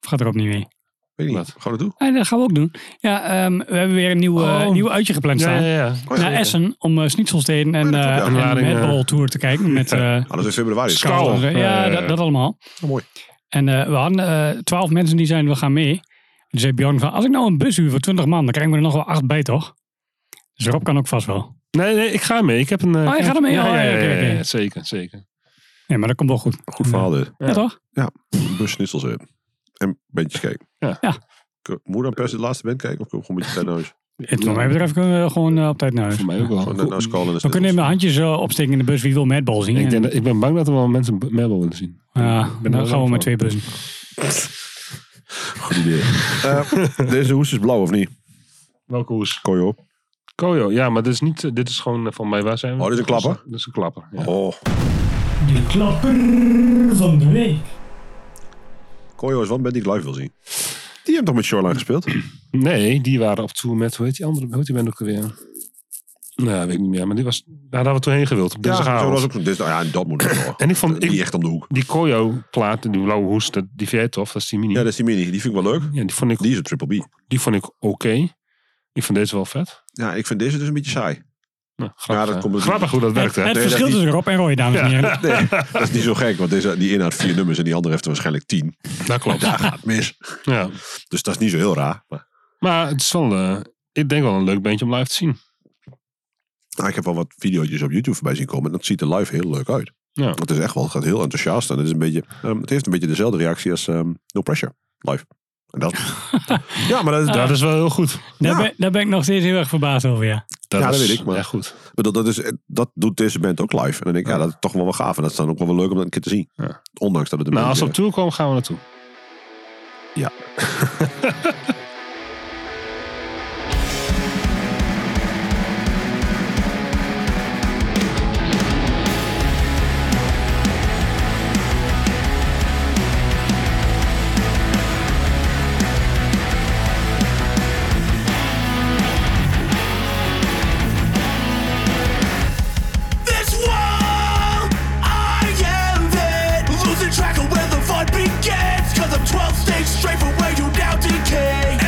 [SPEAKER 1] Of gaat er ook niet mee?
[SPEAKER 3] Weet ik niet.
[SPEAKER 2] Wat?
[SPEAKER 3] Gewoon naartoe.
[SPEAKER 1] Ah, dat gaan we ook doen. Ja, ehm, we hebben weer een nieuw, eh,
[SPEAKER 2] Oh.
[SPEAKER 1] nieuw uitje gepland
[SPEAKER 2] Ja,
[SPEAKER 1] staan.
[SPEAKER 2] ja, ja.
[SPEAKER 3] Oh, ja.
[SPEAKER 1] Naar Essen om eh Schnitzelsteden en,
[SPEAKER 3] Ja, dat klopt, ja.
[SPEAKER 1] eh, en
[SPEAKER 2] Aanlading,
[SPEAKER 1] de
[SPEAKER 2] eh.
[SPEAKER 1] Mad Ball Tour te kijken. Met, eh
[SPEAKER 3] Ah, dat is in februari.
[SPEAKER 2] Scout.
[SPEAKER 1] Scout.
[SPEAKER 2] Ja, ja,
[SPEAKER 1] Ja,
[SPEAKER 2] ja.
[SPEAKER 1] dat, dat allemaal.
[SPEAKER 3] Oh, mooi.
[SPEAKER 1] En eh, we hadden twaalf mensen die zeiden, we gaan mee. En toen zei Bjorn van, als ik nou een bus huur voor 20 man, dan krijgen we er nog wel acht bij, toch? Dus Rob kan ook vast wel.
[SPEAKER 2] Nee, nee, ik ga mee. Ik heb een... eh,
[SPEAKER 1] Oh, je gaat ermee?
[SPEAKER 2] Ja,
[SPEAKER 1] Oh,
[SPEAKER 2] ja,
[SPEAKER 1] ja,
[SPEAKER 2] ja,
[SPEAKER 1] oké,
[SPEAKER 2] ja,
[SPEAKER 1] oké.
[SPEAKER 2] ja, zeker, zeker.
[SPEAKER 1] Nee, maar dat komt wel goed.
[SPEAKER 3] Goed verhaal dit.
[SPEAKER 1] Ja, toch?
[SPEAKER 3] Bus schnitzels in. En bandjes kijken.
[SPEAKER 2] Ja.
[SPEAKER 1] Ja.
[SPEAKER 3] K- Moet dan per se de laatste band kijken of kunnen we gewoon een beetje tijd naar huis?
[SPEAKER 1] Het, wat mij betreft kunnen we gewoon eh, op tijd naar huis.
[SPEAKER 2] Voor mij ook wel.
[SPEAKER 3] Gewoon naar, naar
[SPEAKER 2] Goed.
[SPEAKER 3] Skull en de
[SPEAKER 1] We kunnen
[SPEAKER 3] schnitzels.
[SPEAKER 1] even handjes eh, opsteken in de bus wie wil Madball zien.
[SPEAKER 2] Ik,
[SPEAKER 1] En-
[SPEAKER 2] denk dat- ik ben bang dat er wel mensen Melbourne willen zien.
[SPEAKER 1] Ja,
[SPEAKER 2] Ik ben er wel
[SPEAKER 1] dan gaan
[SPEAKER 2] bang
[SPEAKER 1] we
[SPEAKER 2] voor.
[SPEAKER 1] met twee bussen.
[SPEAKER 3] Goed idee. Eh, deze hoes is blauw of niet?
[SPEAKER 2] Welke hoes?
[SPEAKER 3] Kooi op.
[SPEAKER 2] Kojo, ja, maar dit is niet... eh, Dit is gewoon eh, van mij. Waar zijn we?
[SPEAKER 3] Oh, dit is een klapper?
[SPEAKER 2] Dit is een klapper, ja.
[SPEAKER 3] Oh.
[SPEAKER 1] De klapper van de week.
[SPEAKER 3] Koyo is wel een band die ik live wil zien. Die hebben toch met Shoreline gespeeld?
[SPEAKER 2] Nee, die waren op tour met, hoe heet die andere, hoe heet die band ook weer? Nou, weet ik niet meer, maar die was, daar hadden we toen heen gewild, op
[SPEAKER 3] zo
[SPEAKER 2] dinsdagavond.
[SPEAKER 3] was ook. Dus, nou ja, en dat moet ik wel.
[SPEAKER 2] En ik vond,
[SPEAKER 3] Die
[SPEAKER 2] ik,
[SPEAKER 3] echt om de hoek.
[SPEAKER 2] die Koyo-plaat, die blauwe hoes, dat, die vind jij tof, dat is die mini.
[SPEAKER 3] Ja,
[SPEAKER 2] Ja,
[SPEAKER 3] dat is die mini. Die vind ik wel leuk.
[SPEAKER 2] die vond ik,
[SPEAKER 3] Die is op Triple B.
[SPEAKER 2] die vond ik oké. Ik vond deze wel vet.
[SPEAKER 3] Ja, ik vind deze dus een beetje saai.
[SPEAKER 2] Nou, grappig,
[SPEAKER 3] dat
[SPEAKER 2] hè.
[SPEAKER 3] komt-
[SPEAKER 2] grappig hoe dat werkt,
[SPEAKER 1] Het,
[SPEAKER 2] hè?
[SPEAKER 1] het
[SPEAKER 3] Nee,
[SPEAKER 1] verschil
[SPEAKER 3] dat
[SPEAKER 1] tussen Rob en Roy, dames en heren.
[SPEAKER 3] Nee, dat is niet zo gek. Want deze, die ene had vier nummers en die andere heeft er waarschijnlijk tien.
[SPEAKER 2] Dat klopt.
[SPEAKER 3] Daar gaat het mis.
[SPEAKER 2] Ja.
[SPEAKER 3] Dus dat is niet zo heel raar. Maar,
[SPEAKER 2] Maar het is wel, eh, ik denk wel een leuk bandje om live te zien.
[SPEAKER 3] nou, ik heb wel wat video's op YouTube voorbij zien komen. En dat ziet er live heel leuk uit.
[SPEAKER 2] Ja.
[SPEAKER 3] Het is echt wel, het gaat heel enthousiast. En het, is een beetje, ehm, het heeft een beetje dezelfde reactie als ehm, No Pressure. Live. En dat, ja, maar dat,
[SPEAKER 2] dat is wel heel goed.
[SPEAKER 1] Daar,
[SPEAKER 3] Ja.
[SPEAKER 1] ben, daar ben ik nog steeds heel erg verbaasd over, ja.
[SPEAKER 2] Dat
[SPEAKER 3] Ja, dat
[SPEAKER 2] is
[SPEAKER 3] weet ik, maar-
[SPEAKER 2] echt goed. Nou,
[SPEAKER 3] Ik bedoel, dat, is, eh, dat doet deze band ook live. En dan denk ik, ja, dat is toch wel wel gaaf. En dat is dan ook wel wel leuk om dat een keer te zien.
[SPEAKER 2] Ja.
[SPEAKER 3] Ondanks dat het een
[SPEAKER 2] Nou, als
[SPEAKER 3] beetje-
[SPEAKER 2] ze op tour komen, gaan we naartoe.
[SPEAKER 8] This world, I am it. Losing track of where the fun begins. Cause I'm 12 stages straight from where you now decay.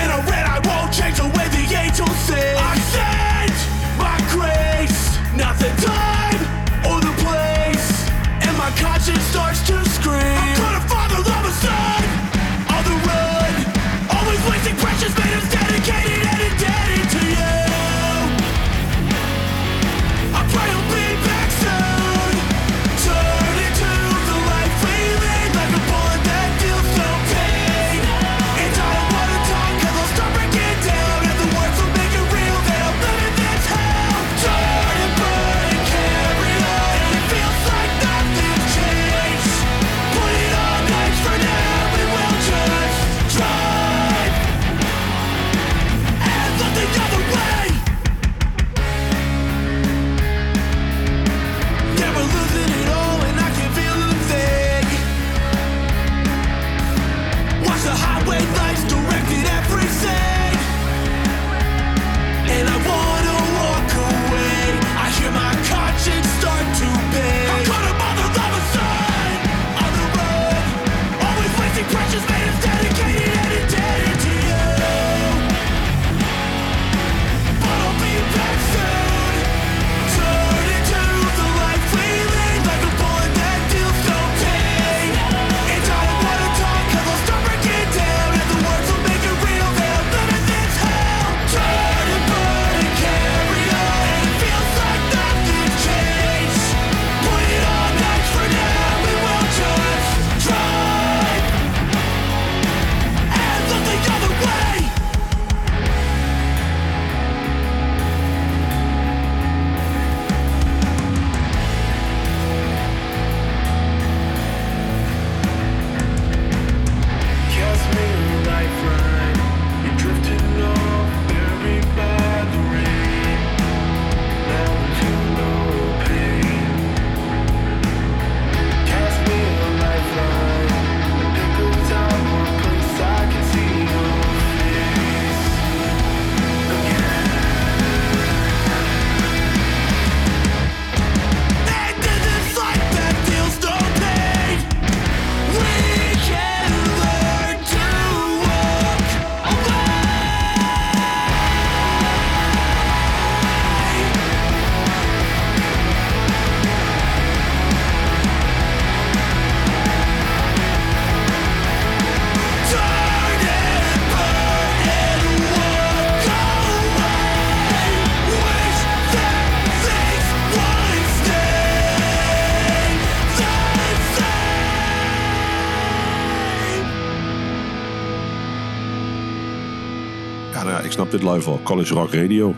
[SPEAKER 3] Ja, nou ja, ik snap dit live wel. College Rock Radio.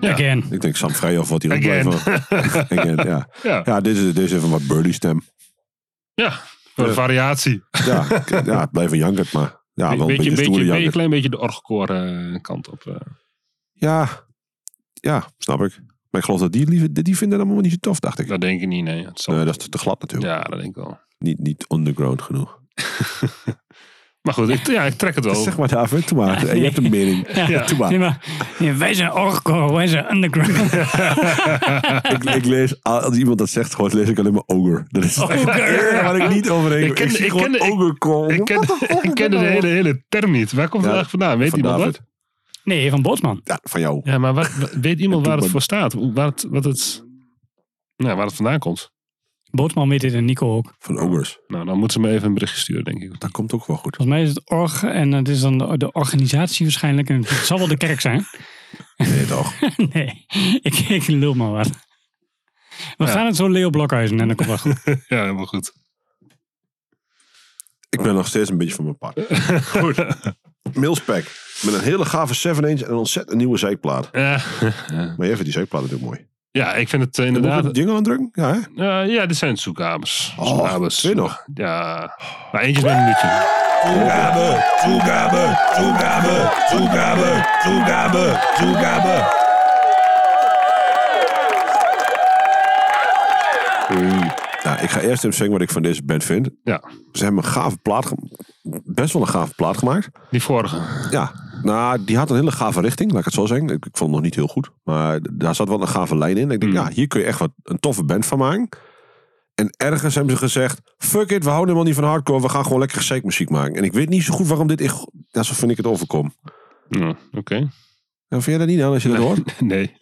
[SPEAKER 2] Ja.
[SPEAKER 1] Again.
[SPEAKER 3] Ik denk Sam Vrijhoff wordt hier ook blij
[SPEAKER 2] Again.
[SPEAKER 3] van. Again, ja.
[SPEAKER 2] Ja.
[SPEAKER 3] Ja, dit is, dit is even wat birdie stem.
[SPEAKER 2] Ja, voor de
[SPEAKER 3] Ja.
[SPEAKER 2] variatie.
[SPEAKER 3] Ja, ik- ja het blijft een jankert, maar ja, wel een beetje,
[SPEAKER 2] beetje, beetje,
[SPEAKER 3] stoere
[SPEAKER 2] een
[SPEAKER 3] jankert.
[SPEAKER 2] klein beetje de orgcore eh, kant op. eh.
[SPEAKER 3] Ja. ja, snap ik. Maar ik geloof dat die, liever- die vinden dat allemaal niet zo tof, dacht ik.
[SPEAKER 2] Dat denk ik niet, nee. Het zal-
[SPEAKER 3] Nee, dat is te glad natuurlijk.
[SPEAKER 2] ja, dat denk ik wel.
[SPEAKER 3] Niet, niet underground genoeg.
[SPEAKER 2] Maar goed, ik, ja, ik trek het wel.
[SPEAKER 3] Zeg maar David, doe maar. Je hebt een mening.
[SPEAKER 1] Ja.
[SPEAKER 3] Doe maar.
[SPEAKER 1] Nee, maar, nee, wij zijn orko, wij zijn underground.
[SPEAKER 3] Ik, ik lees, als iemand dat zegt, gewoon lees ik alleen maar ogre. Dat is het
[SPEAKER 1] Ogre.
[SPEAKER 3] enige waar ik niet overheen
[SPEAKER 2] Ik
[SPEAKER 3] kom.
[SPEAKER 2] ken-
[SPEAKER 3] Ik zie
[SPEAKER 2] ik
[SPEAKER 3] gewoon
[SPEAKER 2] ken- ik-
[SPEAKER 3] ogre komen.
[SPEAKER 2] ik ken,
[SPEAKER 3] What the fuck
[SPEAKER 2] ik
[SPEAKER 3] is
[SPEAKER 2] ken de
[SPEAKER 3] dit nou?
[SPEAKER 2] hele, hele term niet. Waar komt
[SPEAKER 3] Ja,
[SPEAKER 2] het eigenlijk vandaan? Weet
[SPEAKER 3] Van
[SPEAKER 2] iemand
[SPEAKER 3] David.
[SPEAKER 2] dat?
[SPEAKER 1] Nee, van Botsman.
[SPEAKER 3] Ja, van jou.
[SPEAKER 2] Ja, maar wat, wat- weet iemand
[SPEAKER 3] Ja, doe
[SPEAKER 2] waar het
[SPEAKER 3] maar.
[SPEAKER 2] voor staat? Hoe- Waar het, wat het, nou, waar het vandaan komt?
[SPEAKER 1] Botsman weet dit en Nico ook.
[SPEAKER 3] Van ogres.
[SPEAKER 2] Nou, dan moeten ze me even een berichtje sturen, denk ik.
[SPEAKER 3] Dat komt ook wel goed.
[SPEAKER 1] Volgens mij is het org en het is dan de, de organisatie waarschijnlijk. En het zal wel de kerk zijn.
[SPEAKER 3] Nee, toch?
[SPEAKER 1] Nee, ik, ik lul maar wat. We
[SPEAKER 2] Ja.
[SPEAKER 1] gaan het zo Leo Blokhuizen en dan komt wel goed.
[SPEAKER 2] Ja, helemaal goed.
[SPEAKER 3] Ik ben nog steeds een beetje van mijn pad.
[SPEAKER 2] goed.
[SPEAKER 3] Mailspec. Met een hele gave 7-inch en een ontzettend nieuwe zijplaat.
[SPEAKER 2] Ja.
[SPEAKER 3] Maar jij vindt die zijplaat natuurlijk mooi.
[SPEAKER 2] ja, ik vind het eh,
[SPEAKER 3] Moet ik
[SPEAKER 2] inderdaad...
[SPEAKER 3] het jingle aandrukken? Ja, hè?
[SPEAKER 2] Eh, ja, dit zijn zoekabers.
[SPEAKER 3] Oh, twee nog.
[SPEAKER 2] Ja, maar eentje is met een minuutje.
[SPEAKER 7] Toegabe, toegabe, toegabe, toegabe, toegabe, toegabe.
[SPEAKER 3] Ja, Nou, ik ga eerst even zeggen wat ik van deze band vind.
[SPEAKER 2] Ja,
[SPEAKER 3] Ze hebben een gave plaat, ge- best wel een gave plaat gemaakt.
[SPEAKER 2] die vorige.
[SPEAKER 3] Ja, nou, die had een hele gave richting, laat ik het zo zeggen. Ik, ik vond hem nog niet heel goed, maar daar zat wel een gave lijn in. Ik denk,
[SPEAKER 2] Hmm.
[SPEAKER 3] ja, hier kun je echt wat een toffe band van maken. En ergens hebben ze gezegd, fuck it, we houden helemaal niet van hardcore, we gaan gewoon lekker muziek maken. En ik weet niet zo goed waarom dit, in go- ja, zo vind ik het overkom.
[SPEAKER 2] Ja, Oké.
[SPEAKER 3] Ja, vind jij dat niet aan als je dat hoort?
[SPEAKER 2] Nee.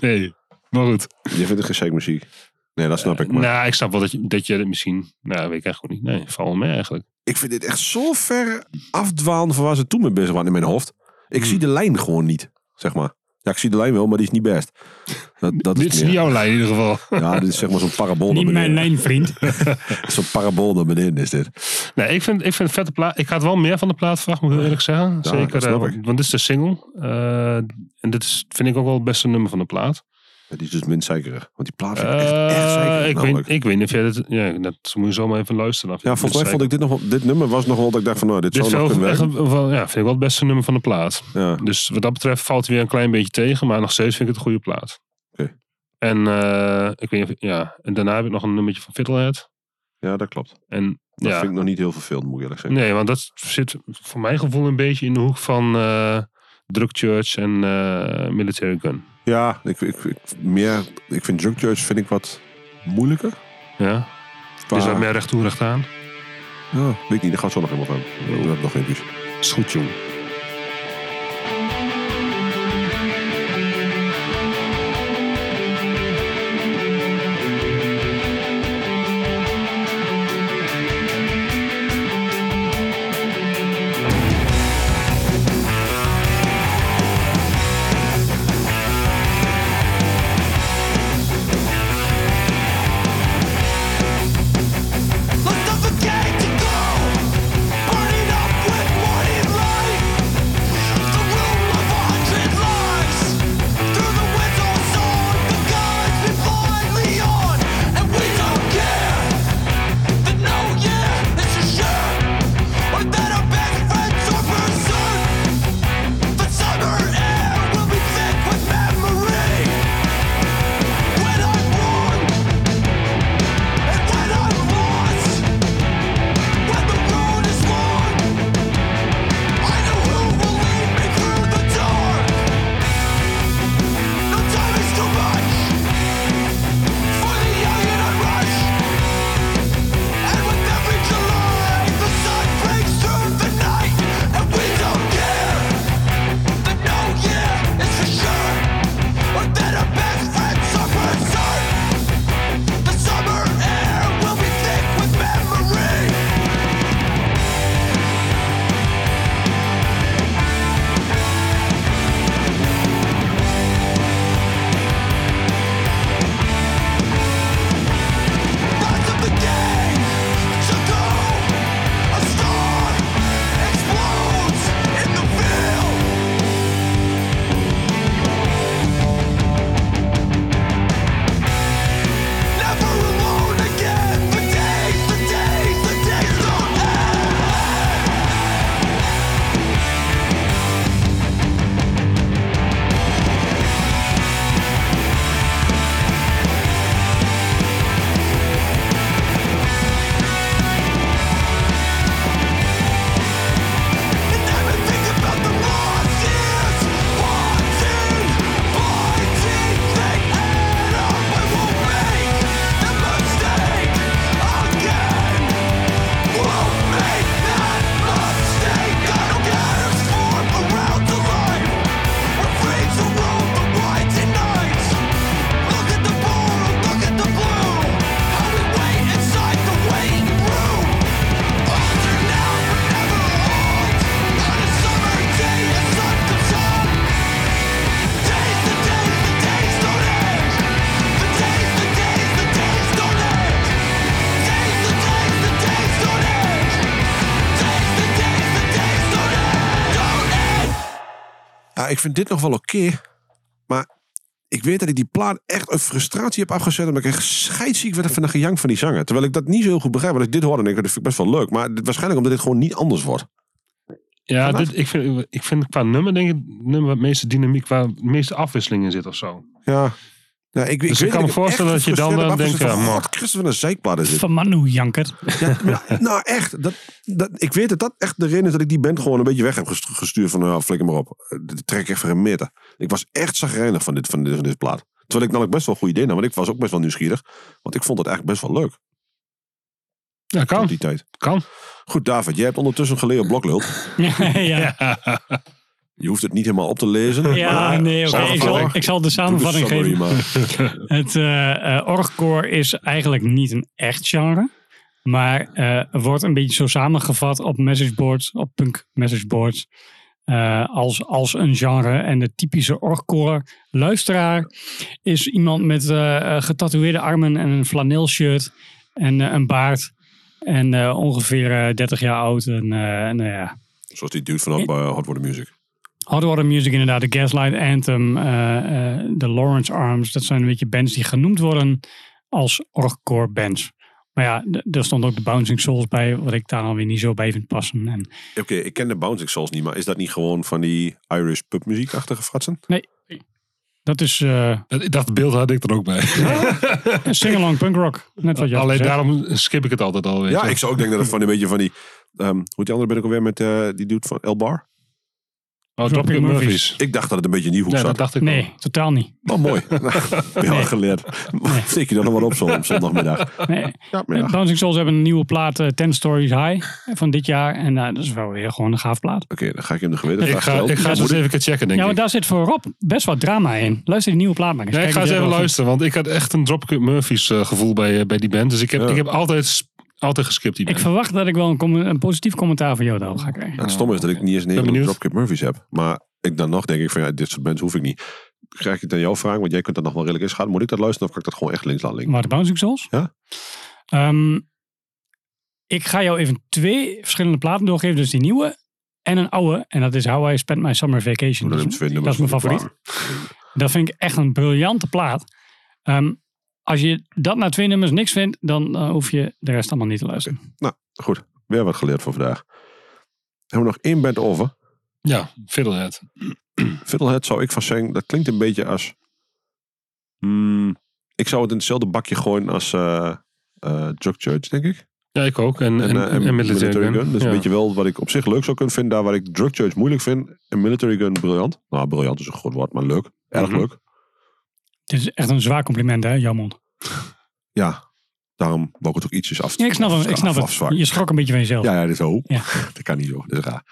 [SPEAKER 2] Nee. Maar goed.
[SPEAKER 3] Je vindt het geen muziek. Nee, dat snap ik. Maar
[SPEAKER 2] Nou, ik snap wel dat je, dat je dit misschien... Nou, weet ik echt goed niet. Nee, val wel mee eigenlijk.
[SPEAKER 3] ik vind dit echt zo ver afdwalen van waar ze toen mee bezig waren in mijn hoofd. Ik
[SPEAKER 2] Hmm.
[SPEAKER 3] zie de lijn gewoon niet, zeg maar. Ja, ik zie de lijn wel, maar die is niet best. Dat, dat
[SPEAKER 2] dit is
[SPEAKER 3] meer-
[SPEAKER 2] niet jouw lijn in ieder geval.
[SPEAKER 3] Ja, dit is zeg maar zo'n parabool. naar
[SPEAKER 1] Niet mijn
[SPEAKER 3] beneden.
[SPEAKER 1] lijn, vriend.
[SPEAKER 3] Zo'n parabool naar beneden is dit.
[SPEAKER 2] Nee, ik vind, ik vind een vette plaat. Ik had wel meer van de plaat verwacht, moet ik eerlijk zeggen. Zeker.
[SPEAKER 3] dat
[SPEAKER 2] eh,
[SPEAKER 3] snap
[SPEAKER 2] want,
[SPEAKER 3] ik.
[SPEAKER 2] want dit is de single. Eh, en dit is, vind ik ook wel het beste nummer van de plaat.
[SPEAKER 3] Het is dus min zeikerig. Want die plaat vind ik echt, echt zeikerig,
[SPEAKER 2] Eh ik,
[SPEAKER 3] namelijk.
[SPEAKER 2] weet, ik weet niet of jij dit... Ja, dat moet je zomaar even luisteren.
[SPEAKER 3] ja, volgens mij vond ik dit nog wel, dit nummer was nog wel dat ik dacht van, nou, dit, zou
[SPEAKER 2] Dit is
[SPEAKER 3] nog
[SPEAKER 2] wel
[SPEAKER 3] kunnen
[SPEAKER 2] echt,
[SPEAKER 3] werken.
[SPEAKER 2] een- wel- ja, vind ik wel het beste nummer van de plaat.
[SPEAKER 3] Ja.
[SPEAKER 2] Dus wat dat betreft valt hij weer een klein beetje tegen, maar nog steeds vind ik het een goede plaat.
[SPEAKER 3] Oké.
[SPEAKER 2] En eh, ik weet niet of- ja, en daarna heb ik nog een nummertje van Fiddlehead.
[SPEAKER 3] ja, dat klopt.
[SPEAKER 2] En
[SPEAKER 3] Dat
[SPEAKER 2] ja,
[SPEAKER 3] vind ik nog niet heel vervelend, moet ik eerlijk zeggen.
[SPEAKER 2] nee, want dat zit voor mijn gevoel een beetje in de hoek van eh Drug Church en eh, Military Gun.
[SPEAKER 3] Ja, ik, ik, ik, meer, ik vind Drug Church vind ik wat moeilijker.
[SPEAKER 2] Ja, het is
[SPEAKER 3] Qua-
[SPEAKER 2] wat meer recht toe recht aan.
[SPEAKER 3] Ja, weet ik niet, daar gaat zo nog helemaal van.
[SPEAKER 2] Oh.
[SPEAKER 3] We hebben nog geen dus.
[SPEAKER 2] Is goed, jong.
[SPEAKER 8] Let's not forget to go. Burning up with morning light.
[SPEAKER 3] Ja, Ah, ik vind dit nog wel oké. maar ik weet dat ik die plaat echt uit frustratie heb afgezet. Omdat ik echt scheidsziek werd van de gejank van die zanger. Terwijl ik dat niet zo heel goed begrijp. Want ik dit hoorde en ik, dat vind ik best wel leuk. Maar dit- waarschijnlijk omdat dit gewoon niet anders wordt.
[SPEAKER 2] Ja,
[SPEAKER 3] Vanaf?
[SPEAKER 2] dit, ik, vind, ik vind qua nummer denk ik het nummer waar het meeste dynamiek, waar het meeste afwisseling in zit of zo.
[SPEAKER 3] Ja. ja Nou, ik,
[SPEAKER 2] Dus ik
[SPEAKER 3] weet
[SPEAKER 2] kan me voorstellen dat je dan, eh, denkt, ja, man.
[SPEAKER 3] wat Christus van een zeikblad is dit.
[SPEAKER 1] Van Manu Janker.
[SPEAKER 3] Ja, maar- nou echt, dat, dat, ik weet dat dat echt de reden is dat ik die band gewoon een beetje weg heb gest- gestuurd. Van nou, flikker maar op, Eh, dit trek ik echt van midden. Ik was echt zagrijnig van dit, van dit, van dit plaat. Terwijl ik namelijk best wel een goed idee nam, want ik was ook best wel nieuwsgierig. Want ik vond het eigenlijk best wel leuk
[SPEAKER 2] Ja,
[SPEAKER 3] op
[SPEAKER 2] kan.
[SPEAKER 3] die tijd.
[SPEAKER 2] Kan.
[SPEAKER 3] Goed David, jij hebt ondertussen geleerd bloklult.
[SPEAKER 1] ja, ja.
[SPEAKER 3] Je hoeft het niet helemaal op te lezen.
[SPEAKER 1] ja,
[SPEAKER 3] maar-
[SPEAKER 1] nee, oké. ik, zal,
[SPEAKER 3] Samenvatting.
[SPEAKER 1] ik zal de
[SPEAKER 3] Doe de
[SPEAKER 1] samenvatting
[SPEAKER 3] summary
[SPEAKER 1] geven.
[SPEAKER 3] maar.
[SPEAKER 1] Het eh eh, orgcore is eigenlijk niet een echt genre. Maar eh, wordt een beetje zo samengevat op messageboards, op punk messageboards. eh, als, als een genre. En de typische orgcore luisteraar is iemand met eh, eh, getatoeëerde armen en een flanelshirt en eh, een baard. En eh, ongeveer eh, 30 jaar oud. En eh, nou ja,
[SPEAKER 3] Zoals die dude van eh, Hot Water Music.
[SPEAKER 1] Hot Water Music inderdaad, de Gaslight Anthem, eh, eh, de Lawrence Arms. Dat zijn een beetje bands die genoemd worden als orgcore bands. Maar ja, d- daar stond ook de Bouncing Souls bij, wat ik daar dan weer niet zo bij vind passen. En
[SPEAKER 3] Oké, ik ken de Bouncing Souls niet, maar is dat niet gewoon van die Irish pubmuziek-achtige fratsen?
[SPEAKER 1] dat is eh
[SPEAKER 2] Dat, dat beeld had ik er ook bij.
[SPEAKER 1] singalong punk rock, net wat je had
[SPEAKER 2] Alleen
[SPEAKER 1] gezegd.
[SPEAKER 2] daarom skip ik het altijd al. Weet
[SPEAKER 3] Ja,
[SPEAKER 2] je.
[SPEAKER 3] ik zou ook denken dat het van een beetje van die... ehm hoe heet die andere ben ik alweer met eh, die dude van El Bar?
[SPEAKER 2] Oh, Dropkick
[SPEAKER 1] Dropkick
[SPEAKER 2] Murphys.
[SPEAKER 1] Murphys.
[SPEAKER 3] Ik dacht dat het een beetje in die hoek
[SPEAKER 2] Ja,
[SPEAKER 3] zat.
[SPEAKER 2] dat dacht ik
[SPEAKER 1] Nee,
[SPEAKER 2] wel.
[SPEAKER 1] totaal niet.
[SPEAKER 3] Oh, mooi. ben je wel geleerd. Steek je dat nog wel op zo op zondagmiddag?
[SPEAKER 1] Nee.
[SPEAKER 3] Ja,
[SPEAKER 1] Eh,
[SPEAKER 3] middag. Oké,
[SPEAKER 1] Bouncing Souls hebben een nieuwe plaat, eh, Ten Stories High, van dit jaar. En nou, dat is wel weer gewoon een gaaf plaat.
[SPEAKER 3] dan ga ik hem de geweten
[SPEAKER 2] Ik ga, ik ga het eens even checken, denk
[SPEAKER 1] ja,
[SPEAKER 2] ik.
[SPEAKER 1] want daar zit voor Rob best wat drama in. Luister die nieuwe plaat maar eens.
[SPEAKER 2] Ja, ik
[SPEAKER 1] Kijk
[SPEAKER 2] ga
[SPEAKER 1] of
[SPEAKER 2] eens
[SPEAKER 1] jij wel vindt.
[SPEAKER 2] even luisteren, want ik had echt een Dropkick Murphys eh, gevoel bij, eh, bij die band. Dus ik heb,
[SPEAKER 3] Ja.
[SPEAKER 2] ik heb altijd, s- altijd geskipt die
[SPEAKER 1] Ik
[SPEAKER 2] band.
[SPEAKER 1] verwacht dat ik wel een, com- een positief commentaar van Jodo ga krijgen.
[SPEAKER 3] Het stomme is dat ik niet eens een
[SPEAKER 2] Ben
[SPEAKER 3] hele
[SPEAKER 2] benieuwd.
[SPEAKER 3] Dropkick Murphys heb. Maar ik dan nog denk ik van ja, dit soort bands hoef ik niet. Krijg ik het aan jou vragen, want jij kunt dat nog wel redelijk inschat. Moet ik dat luisteren of kan ik dat gewoon echt links laten linken?
[SPEAKER 1] Maar de Bouncing Souls?
[SPEAKER 3] Ja.
[SPEAKER 1] Ehm, ik ga jou even twee verschillende platen doorgeven. Dus die nieuwe en een oude. En dat is How I Spent My Summer Vacation. Dat
[SPEAKER 3] Doe dan even
[SPEAKER 1] is,
[SPEAKER 3] twee
[SPEAKER 1] dat
[SPEAKER 3] nummers
[SPEAKER 1] is mijn
[SPEAKER 3] van die
[SPEAKER 1] favoriet. Dat vind ik echt een briljante plaat. Ehm, als je dat na twee nummers niks vindt, dan eh, hoef je de rest allemaal niet te luisteren.
[SPEAKER 3] Goed, weer wat geleerd voor vandaag. Hebben we nog één band over?
[SPEAKER 2] Ja, Fiddlehead.
[SPEAKER 3] Fiddlehead zou ik van zeggen, dat klinkt een beetje als... Hmm, ik zou het in hetzelfde bakje gooien als eh eh, Drug Church, denk ik.
[SPEAKER 2] Ja, ik ook. En, en,
[SPEAKER 3] eh,
[SPEAKER 2] en, Military, Gun.
[SPEAKER 3] Dus
[SPEAKER 2] Ja.
[SPEAKER 3] een beetje wel wat ik op zich leuk zou kunnen vinden. Daar waar ik Drug Church moeilijk vind. En Military Gun briljant. Nou, briljant is een goed woord, maar leuk. Erg
[SPEAKER 2] Mhm.
[SPEAKER 3] leuk.
[SPEAKER 1] Dit is echt een zwaar compliment, hè, Jamon?
[SPEAKER 3] Ja, daarom wou ik het ook ietsjes af.
[SPEAKER 1] Ja, ik snap hem. Ik snap het.
[SPEAKER 3] afzwakken.
[SPEAKER 1] Je schrok een beetje van jezelf.
[SPEAKER 3] Ja, ja, dit is ook.
[SPEAKER 1] Ja.
[SPEAKER 3] Dat kan niet zo. Dat is raar.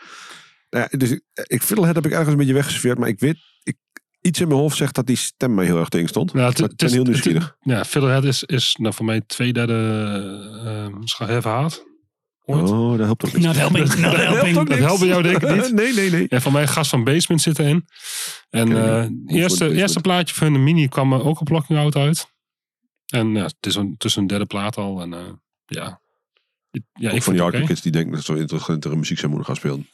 [SPEAKER 3] Nou ja, dus ik, ik Fiddlehead heb ik ergens een beetje weggeserveerd. Maar ik weet, ik, iets in mijn hoofd zegt dat die stem mij heel erg tegen stond.
[SPEAKER 2] Nou, het-
[SPEAKER 3] Maar ik
[SPEAKER 2] het
[SPEAKER 3] ben
[SPEAKER 2] is-
[SPEAKER 3] heel
[SPEAKER 2] het-
[SPEAKER 3] nieuwsgierig.
[SPEAKER 2] Ja, Fiddlehead is, is nou, voor mij twee derde eh, scha- herhaald. Ooit.
[SPEAKER 3] oh, dat helpt ook niet.
[SPEAKER 1] Not helping, not helping.
[SPEAKER 2] Dat helpt bij jou denk ik niet.
[SPEAKER 3] nee, nee, nee.
[SPEAKER 2] En van mij Gast van Basement zit erin. En
[SPEAKER 3] Ken ik niet.
[SPEAKER 2] eh, het
[SPEAKER 3] Hoeveel
[SPEAKER 2] eerste,
[SPEAKER 3] Basement?
[SPEAKER 2] eerste plaatje van de mini kwam eh, ook op Locking Out uit. En ja, het is een, tussen een derde plaat al. En eh, ja. Ik- ja,
[SPEAKER 3] ik van
[SPEAKER 2] ik vond
[SPEAKER 3] die
[SPEAKER 2] het
[SPEAKER 3] hardcore
[SPEAKER 2] oké.
[SPEAKER 3] kids die denken dat ze zo intelligentere muziek zijn moeder gaan spelen.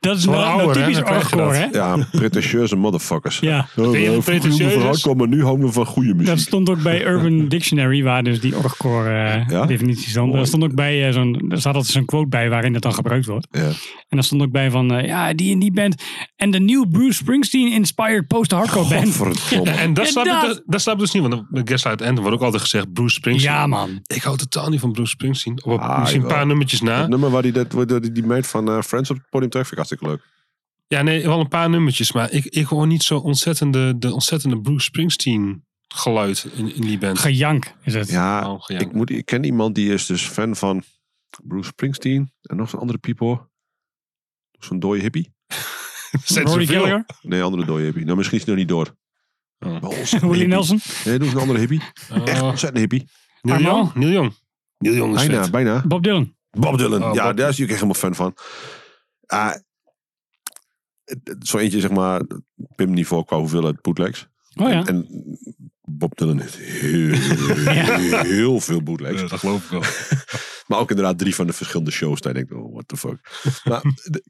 [SPEAKER 1] Dat is
[SPEAKER 2] Wel
[SPEAKER 1] nou, nou
[SPEAKER 2] ouder, hè?
[SPEAKER 1] typisch
[SPEAKER 2] Dan krijg je
[SPEAKER 1] orgcore, hè?
[SPEAKER 2] dat.
[SPEAKER 3] Ja, pretentieuze motherfuckers.
[SPEAKER 1] Ja.
[SPEAKER 3] Oh,
[SPEAKER 2] je
[SPEAKER 3] we
[SPEAKER 2] een
[SPEAKER 3] vroeger hielden we van
[SPEAKER 2] pretentieus?
[SPEAKER 3] hardcore, maar nu houden we van goede muziek.
[SPEAKER 1] Dat stond ook bij Urban Dictionary, waar dus die orgcore eh,
[SPEAKER 3] Ja?
[SPEAKER 1] definitie stond.
[SPEAKER 3] Mooi.
[SPEAKER 1] Daar stond ook bij eh, zo'n, er staat altijd zo'n quote bij waarin dat dan gebruikt wordt.
[SPEAKER 3] Ja.
[SPEAKER 1] En daar stond ook bij van, eh, ja, die en die band. En de nieuwe Bruce Springsteen-inspired post-hardcore band.
[SPEAKER 3] Godverdomme.
[SPEAKER 2] En dat
[SPEAKER 1] En
[SPEAKER 2] snap, ik,
[SPEAKER 1] dat-
[SPEAKER 2] dat, dat snap ik dus niet, want bij Gaslight Anthem wordt ook altijd gezegd Bruce Springsteen.
[SPEAKER 1] Ja, man.
[SPEAKER 2] Ik hou totaal niet van Bruce Springsteen. Op,
[SPEAKER 3] Ah,
[SPEAKER 2] misschien een
[SPEAKER 3] jawel.
[SPEAKER 2] paar nummertjes na.
[SPEAKER 3] Het nummer waar die, dat, waar die, die meid van eh, Friends op het podium trekt, vind ik hartstikke leuk.
[SPEAKER 2] Ja, nee, wel een paar nummertjes, maar ik, ik hoor niet zo ontzettende, de ontzettende Bruce Springsteen geluid in, in die band.
[SPEAKER 1] Gejank is het.
[SPEAKER 3] Ja,
[SPEAKER 2] Oh, ja.
[SPEAKER 3] ik, moet, ik ken iemand die is dus fan van Bruce Springsteen en nog zo'n andere people. Zo'n dode hippie.
[SPEAKER 2] Er zijn
[SPEAKER 1] Rory
[SPEAKER 2] zoveel.
[SPEAKER 1] Gallagher,
[SPEAKER 3] Nee, andere dode hippie. Nou, misschien is hij nog niet door.
[SPEAKER 2] Oh.
[SPEAKER 1] Willie Nelson.
[SPEAKER 3] Nee, doe eens een andere hippie. Echt
[SPEAKER 2] Oh,
[SPEAKER 3] ontzettend hippie.
[SPEAKER 2] Neil
[SPEAKER 1] Armand?
[SPEAKER 2] Young? Neil Young. Neil Young is
[SPEAKER 3] Bijna,
[SPEAKER 2] vet.
[SPEAKER 3] bijna.
[SPEAKER 1] Bob Dylan.
[SPEAKER 3] Bob Dylan,
[SPEAKER 2] Oh,
[SPEAKER 3] ja,
[SPEAKER 2] Bob
[SPEAKER 3] daar is ik echt helemaal fan van. Ah, het- het- zo eentje, zeg maar, Pim niveau qua hoeveelheid bootlegs.
[SPEAKER 1] Oh ja.
[SPEAKER 3] En, en Bob Dylan heeft heel, heel veel bootlegs.
[SPEAKER 2] Ja, Eh, dat geloof ik wel.
[SPEAKER 3] Maar ook inderdaad drie van de verschillende shows. Daar denk ik, oh, what the fuck. maar, de-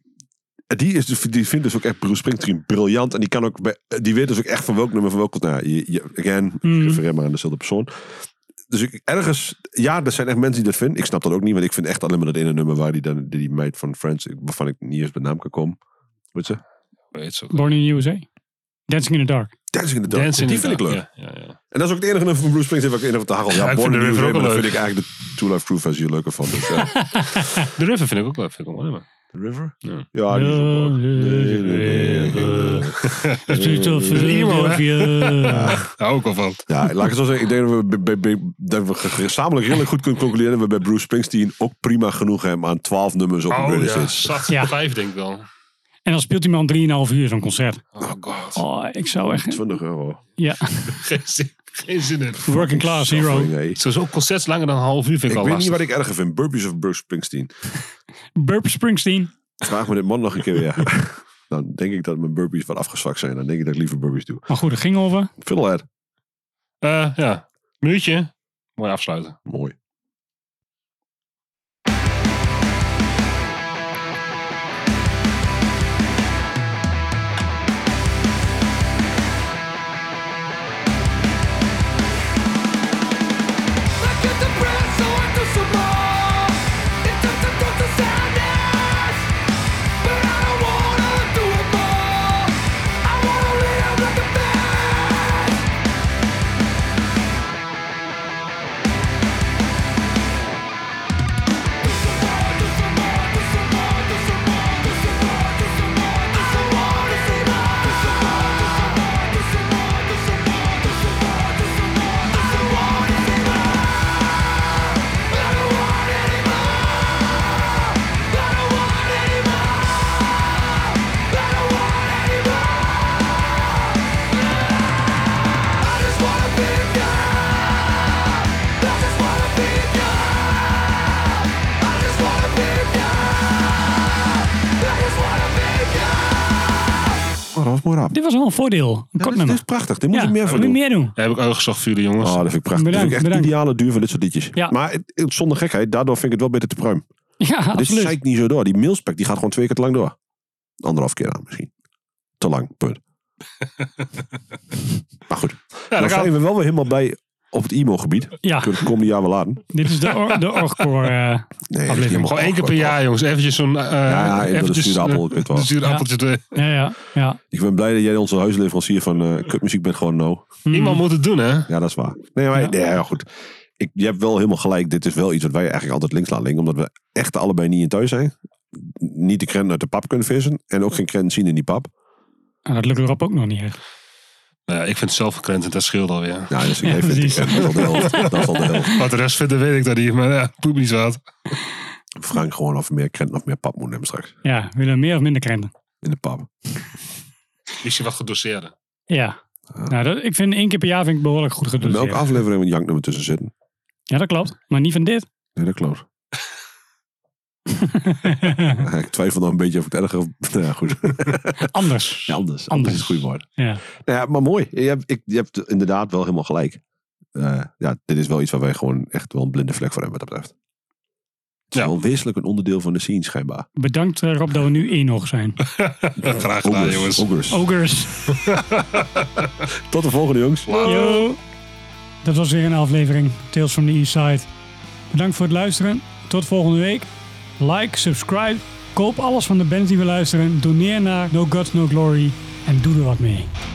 [SPEAKER 3] die, is, dus- die vindt dus ook echt Bruce Springsteen briljant. En die, kan ook bij, die weet dus ook echt van welk nummer van welk... Nou, je, je, again,
[SPEAKER 1] Mhm.
[SPEAKER 2] Mm.
[SPEAKER 3] ik refereer maar aan dezelfde persoon. Dus ik, ergens... Ja, er zijn echt mensen die dat vinden. Ik snap dat ook niet. Want ik vind echt alleen maar dat ene nummer... waar die, dan, die, die meid van Friends... ik- waarvan ik niet eens bij naam kan komen. Weet ze?
[SPEAKER 2] Weet ze ook.
[SPEAKER 1] Born in the USA. Dancing in the Dark.
[SPEAKER 3] Dancing in the Dark.
[SPEAKER 2] Dancing
[SPEAKER 3] die
[SPEAKER 2] in
[SPEAKER 3] vind
[SPEAKER 2] the
[SPEAKER 3] ik leuk.
[SPEAKER 2] Dark, Ja, ja, ja.
[SPEAKER 3] En dat is ook het enige nummer van Bruce Springsteen... waar ik in op de hagel. Ja,
[SPEAKER 2] Ja, ik
[SPEAKER 3] Born
[SPEAKER 2] vind
[SPEAKER 3] in
[SPEAKER 2] de
[SPEAKER 3] the
[SPEAKER 2] River
[SPEAKER 3] USA,
[SPEAKER 2] ook
[SPEAKER 3] maar daar
[SPEAKER 2] wel
[SPEAKER 3] vind ik
[SPEAKER 2] leuk.
[SPEAKER 3] eigenlijk de Two Life Crew versie leuker van. Dus, ja.
[SPEAKER 2] De River vind ik ook leuk. Vind ik wel mooi, maar.
[SPEAKER 3] ja, Ah, die is ook wel- Nee, nee, nee.
[SPEAKER 2] Daar ook al van.
[SPEAKER 3] Ja, laat ik het zo zeggen. Ik denk dat we, bij- bij- bij- dat we gezamenlijk redelijk goed kunnen concluderen... dat we bij Bruce Springsteen ook prima genoeg hebben... aan twaalf nummers op een
[SPEAKER 2] Oh
[SPEAKER 3] playlist.
[SPEAKER 2] ja, zat
[SPEAKER 1] Ja.
[SPEAKER 2] vijf denk ik wel.
[SPEAKER 1] En dan speelt die man 3,5 uur zo'n concert.
[SPEAKER 2] Oh god.
[SPEAKER 1] Oh, ik zou echt...
[SPEAKER 3] 20 euro.
[SPEAKER 1] Ja,
[SPEAKER 2] Geen zin, geen zin in.
[SPEAKER 1] working class hero.
[SPEAKER 3] Nee.
[SPEAKER 2] Sowieso concerts langer dan een half uur
[SPEAKER 3] Ik
[SPEAKER 2] vind ik,
[SPEAKER 3] weet
[SPEAKER 2] al lastig.
[SPEAKER 3] niet wat ik erger vind. Burpees of Bruce Springsteen?
[SPEAKER 1] Burp Springsteen.
[SPEAKER 3] Vraag me dit man nog een keer weer. Dan denk ik dat mijn burpees wat afgezwakt zijn. Dan denk ik dat ik liever burpees doe.
[SPEAKER 1] Maar goed, het ging over.
[SPEAKER 3] Fiddlehead.
[SPEAKER 2] Eh, ja, minuutje. Mooi afsluiten.
[SPEAKER 3] Mooi. Oh, dat was mooi rap.
[SPEAKER 1] Dit was wel een voordeel. Een
[SPEAKER 3] Ja,
[SPEAKER 1] kort
[SPEAKER 3] dit, dit
[SPEAKER 1] nummer.
[SPEAKER 3] is prachtig. Dit moet
[SPEAKER 1] Ja,
[SPEAKER 3] ik meer
[SPEAKER 1] we
[SPEAKER 3] van
[SPEAKER 1] moeten
[SPEAKER 3] doen.
[SPEAKER 1] meer doen.
[SPEAKER 2] Daar heb ik uitgezocht voor jullie jongens.
[SPEAKER 3] Oh, dat vind ik prachtig. dat
[SPEAKER 1] Bedankt,
[SPEAKER 3] vind ik echt
[SPEAKER 1] bedankt.
[SPEAKER 3] de ideale duur van dit soort liedjes.
[SPEAKER 1] Ja.
[SPEAKER 3] Maar het- het- zonder gekheid, daardoor vind ik het wel beter te pruim.
[SPEAKER 1] Ja,
[SPEAKER 3] Dit
[SPEAKER 1] absoluut.
[SPEAKER 3] zeikt niet zo door. Die mailspec die gaat gewoon twee keer te lang door. Anderhalf keer aan misschien. Te lang, punt. maar goed,
[SPEAKER 2] ja,
[SPEAKER 3] dan
[SPEAKER 2] dat kan.
[SPEAKER 3] zijn we wel weer helemaal bij op het emo-gebied.
[SPEAKER 1] Ja,
[SPEAKER 3] Kunnen we het komende jaar wel laden.
[SPEAKER 1] dit is de, or, de orgcore. eh,
[SPEAKER 3] Nee, dat is
[SPEAKER 1] Aflevering.
[SPEAKER 3] niet
[SPEAKER 2] Gewoon één keer per
[SPEAKER 3] mogelijk.
[SPEAKER 2] jaar jongens. Eventjes zo'n... eh
[SPEAKER 3] ja, even de zure appel, ik weet wel.
[SPEAKER 2] De zure
[SPEAKER 1] Ja.
[SPEAKER 2] appeltje. erin.
[SPEAKER 1] ja, ja, ja.
[SPEAKER 3] Ik ben blij dat jij onze huisleverancier van eh, kutmuziek bent gewoon no.
[SPEAKER 1] Mm.
[SPEAKER 2] Iemand moet het doen hè.
[SPEAKER 3] Ja, dat is waar. Nee, maar
[SPEAKER 1] Ja.
[SPEAKER 3] nee, ja, goed. Ik, je hebt wel helemaal gelijk. Dit is wel iets wat wij eigenlijk altijd links laten liggen. Omdat we echt allebei niet in thuis zijn. Niet de krent uit de pap kunnen vissen. En ook geen krent zien in die pap.
[SPEAKER 1] En Ah, dat lukt erop ook nog niet echt.
[SPEAKER 2] Nou ja, ik vind het zelf gekrent dat scheelt alweer.
[SPEAKER 3] Nou, dus ik
[SPEAKER 1] Ja,
[SPEAKER 3] vind die
[SPEAKER 1] precies.
[SPEAKER 3] krent, dat is al de helft. Dat is al de helft.
[SPEAKER 2] Wat de rest vindt, dat weet ik dat niet. Maar ja, poep niet wat.
[SPEAKER 3] Frank gewoon of we meer krent of meer pap moeten hebben straks.
[SPEAKER 1] Ja, we willen meer of minder krenten.
[SPEAKER 3] In de pap.
[SPEAKER 2] Misschien wat gedoseerde.
[SPEAKER 1] Ja. Nou, dat, ik vind één keer per jaar vind ik behoorlijk goed
[SPEAKER 3] In elke
[SPEAKER 1] gedoseerd.
[SPEAKER 3] aflevering een janknummer tussen zitten.
[SPEAKER 1] Ja, dat klopt. Maar niet van dit.
[SPEAKER 3] Nee, dat klopt. ik twijfel nog een beetje of ik het erger... Nou ja, goed.
[SPEAKER 1] Anders.
[SPEAKER 3] Ja, anders.
[SPEAKER 1] Anders.
[SPEAKER 3] Anders is het goede woord.
[SPEAKER 1] Ja.
[SPEAKER 3] Nou ja, maar mooi. Je hebt, ik, je hebt inderdaad wel helemaal gelijk. Eh, ja, dit is wel iets waar wij gewoon echt wel een blinde vlek voor hebben wat dat betreft. Het is
[SPEAKER 2] Ja.
[SPEAKER 3] wel wezenlijk een onderdeel van de scene schijnbaar.
[SPEAKER 1] Bedankt eh, Rob dat we nu één nog zijn.
[SPEAKER 2] Graag gedaan
[SPEAKER 3] Ogres,
[SPEAKER 2] jongens.
[SPEAKER 1] Oh.
[SPEAKER 3] ogres.
[SPEAKER 1] Ogers.
[SPEAKER 3] Tot de volgende jongens.
[SPEAKER 1] Yo. Dat was weer een aflevering Tales from the East Side. Bedankt voor het luisteren. Tot volgende week. Like, subscribe. Koop alles van de bands die we luisteren. Doneer naar No Gods No Glory. En doe er wat mee.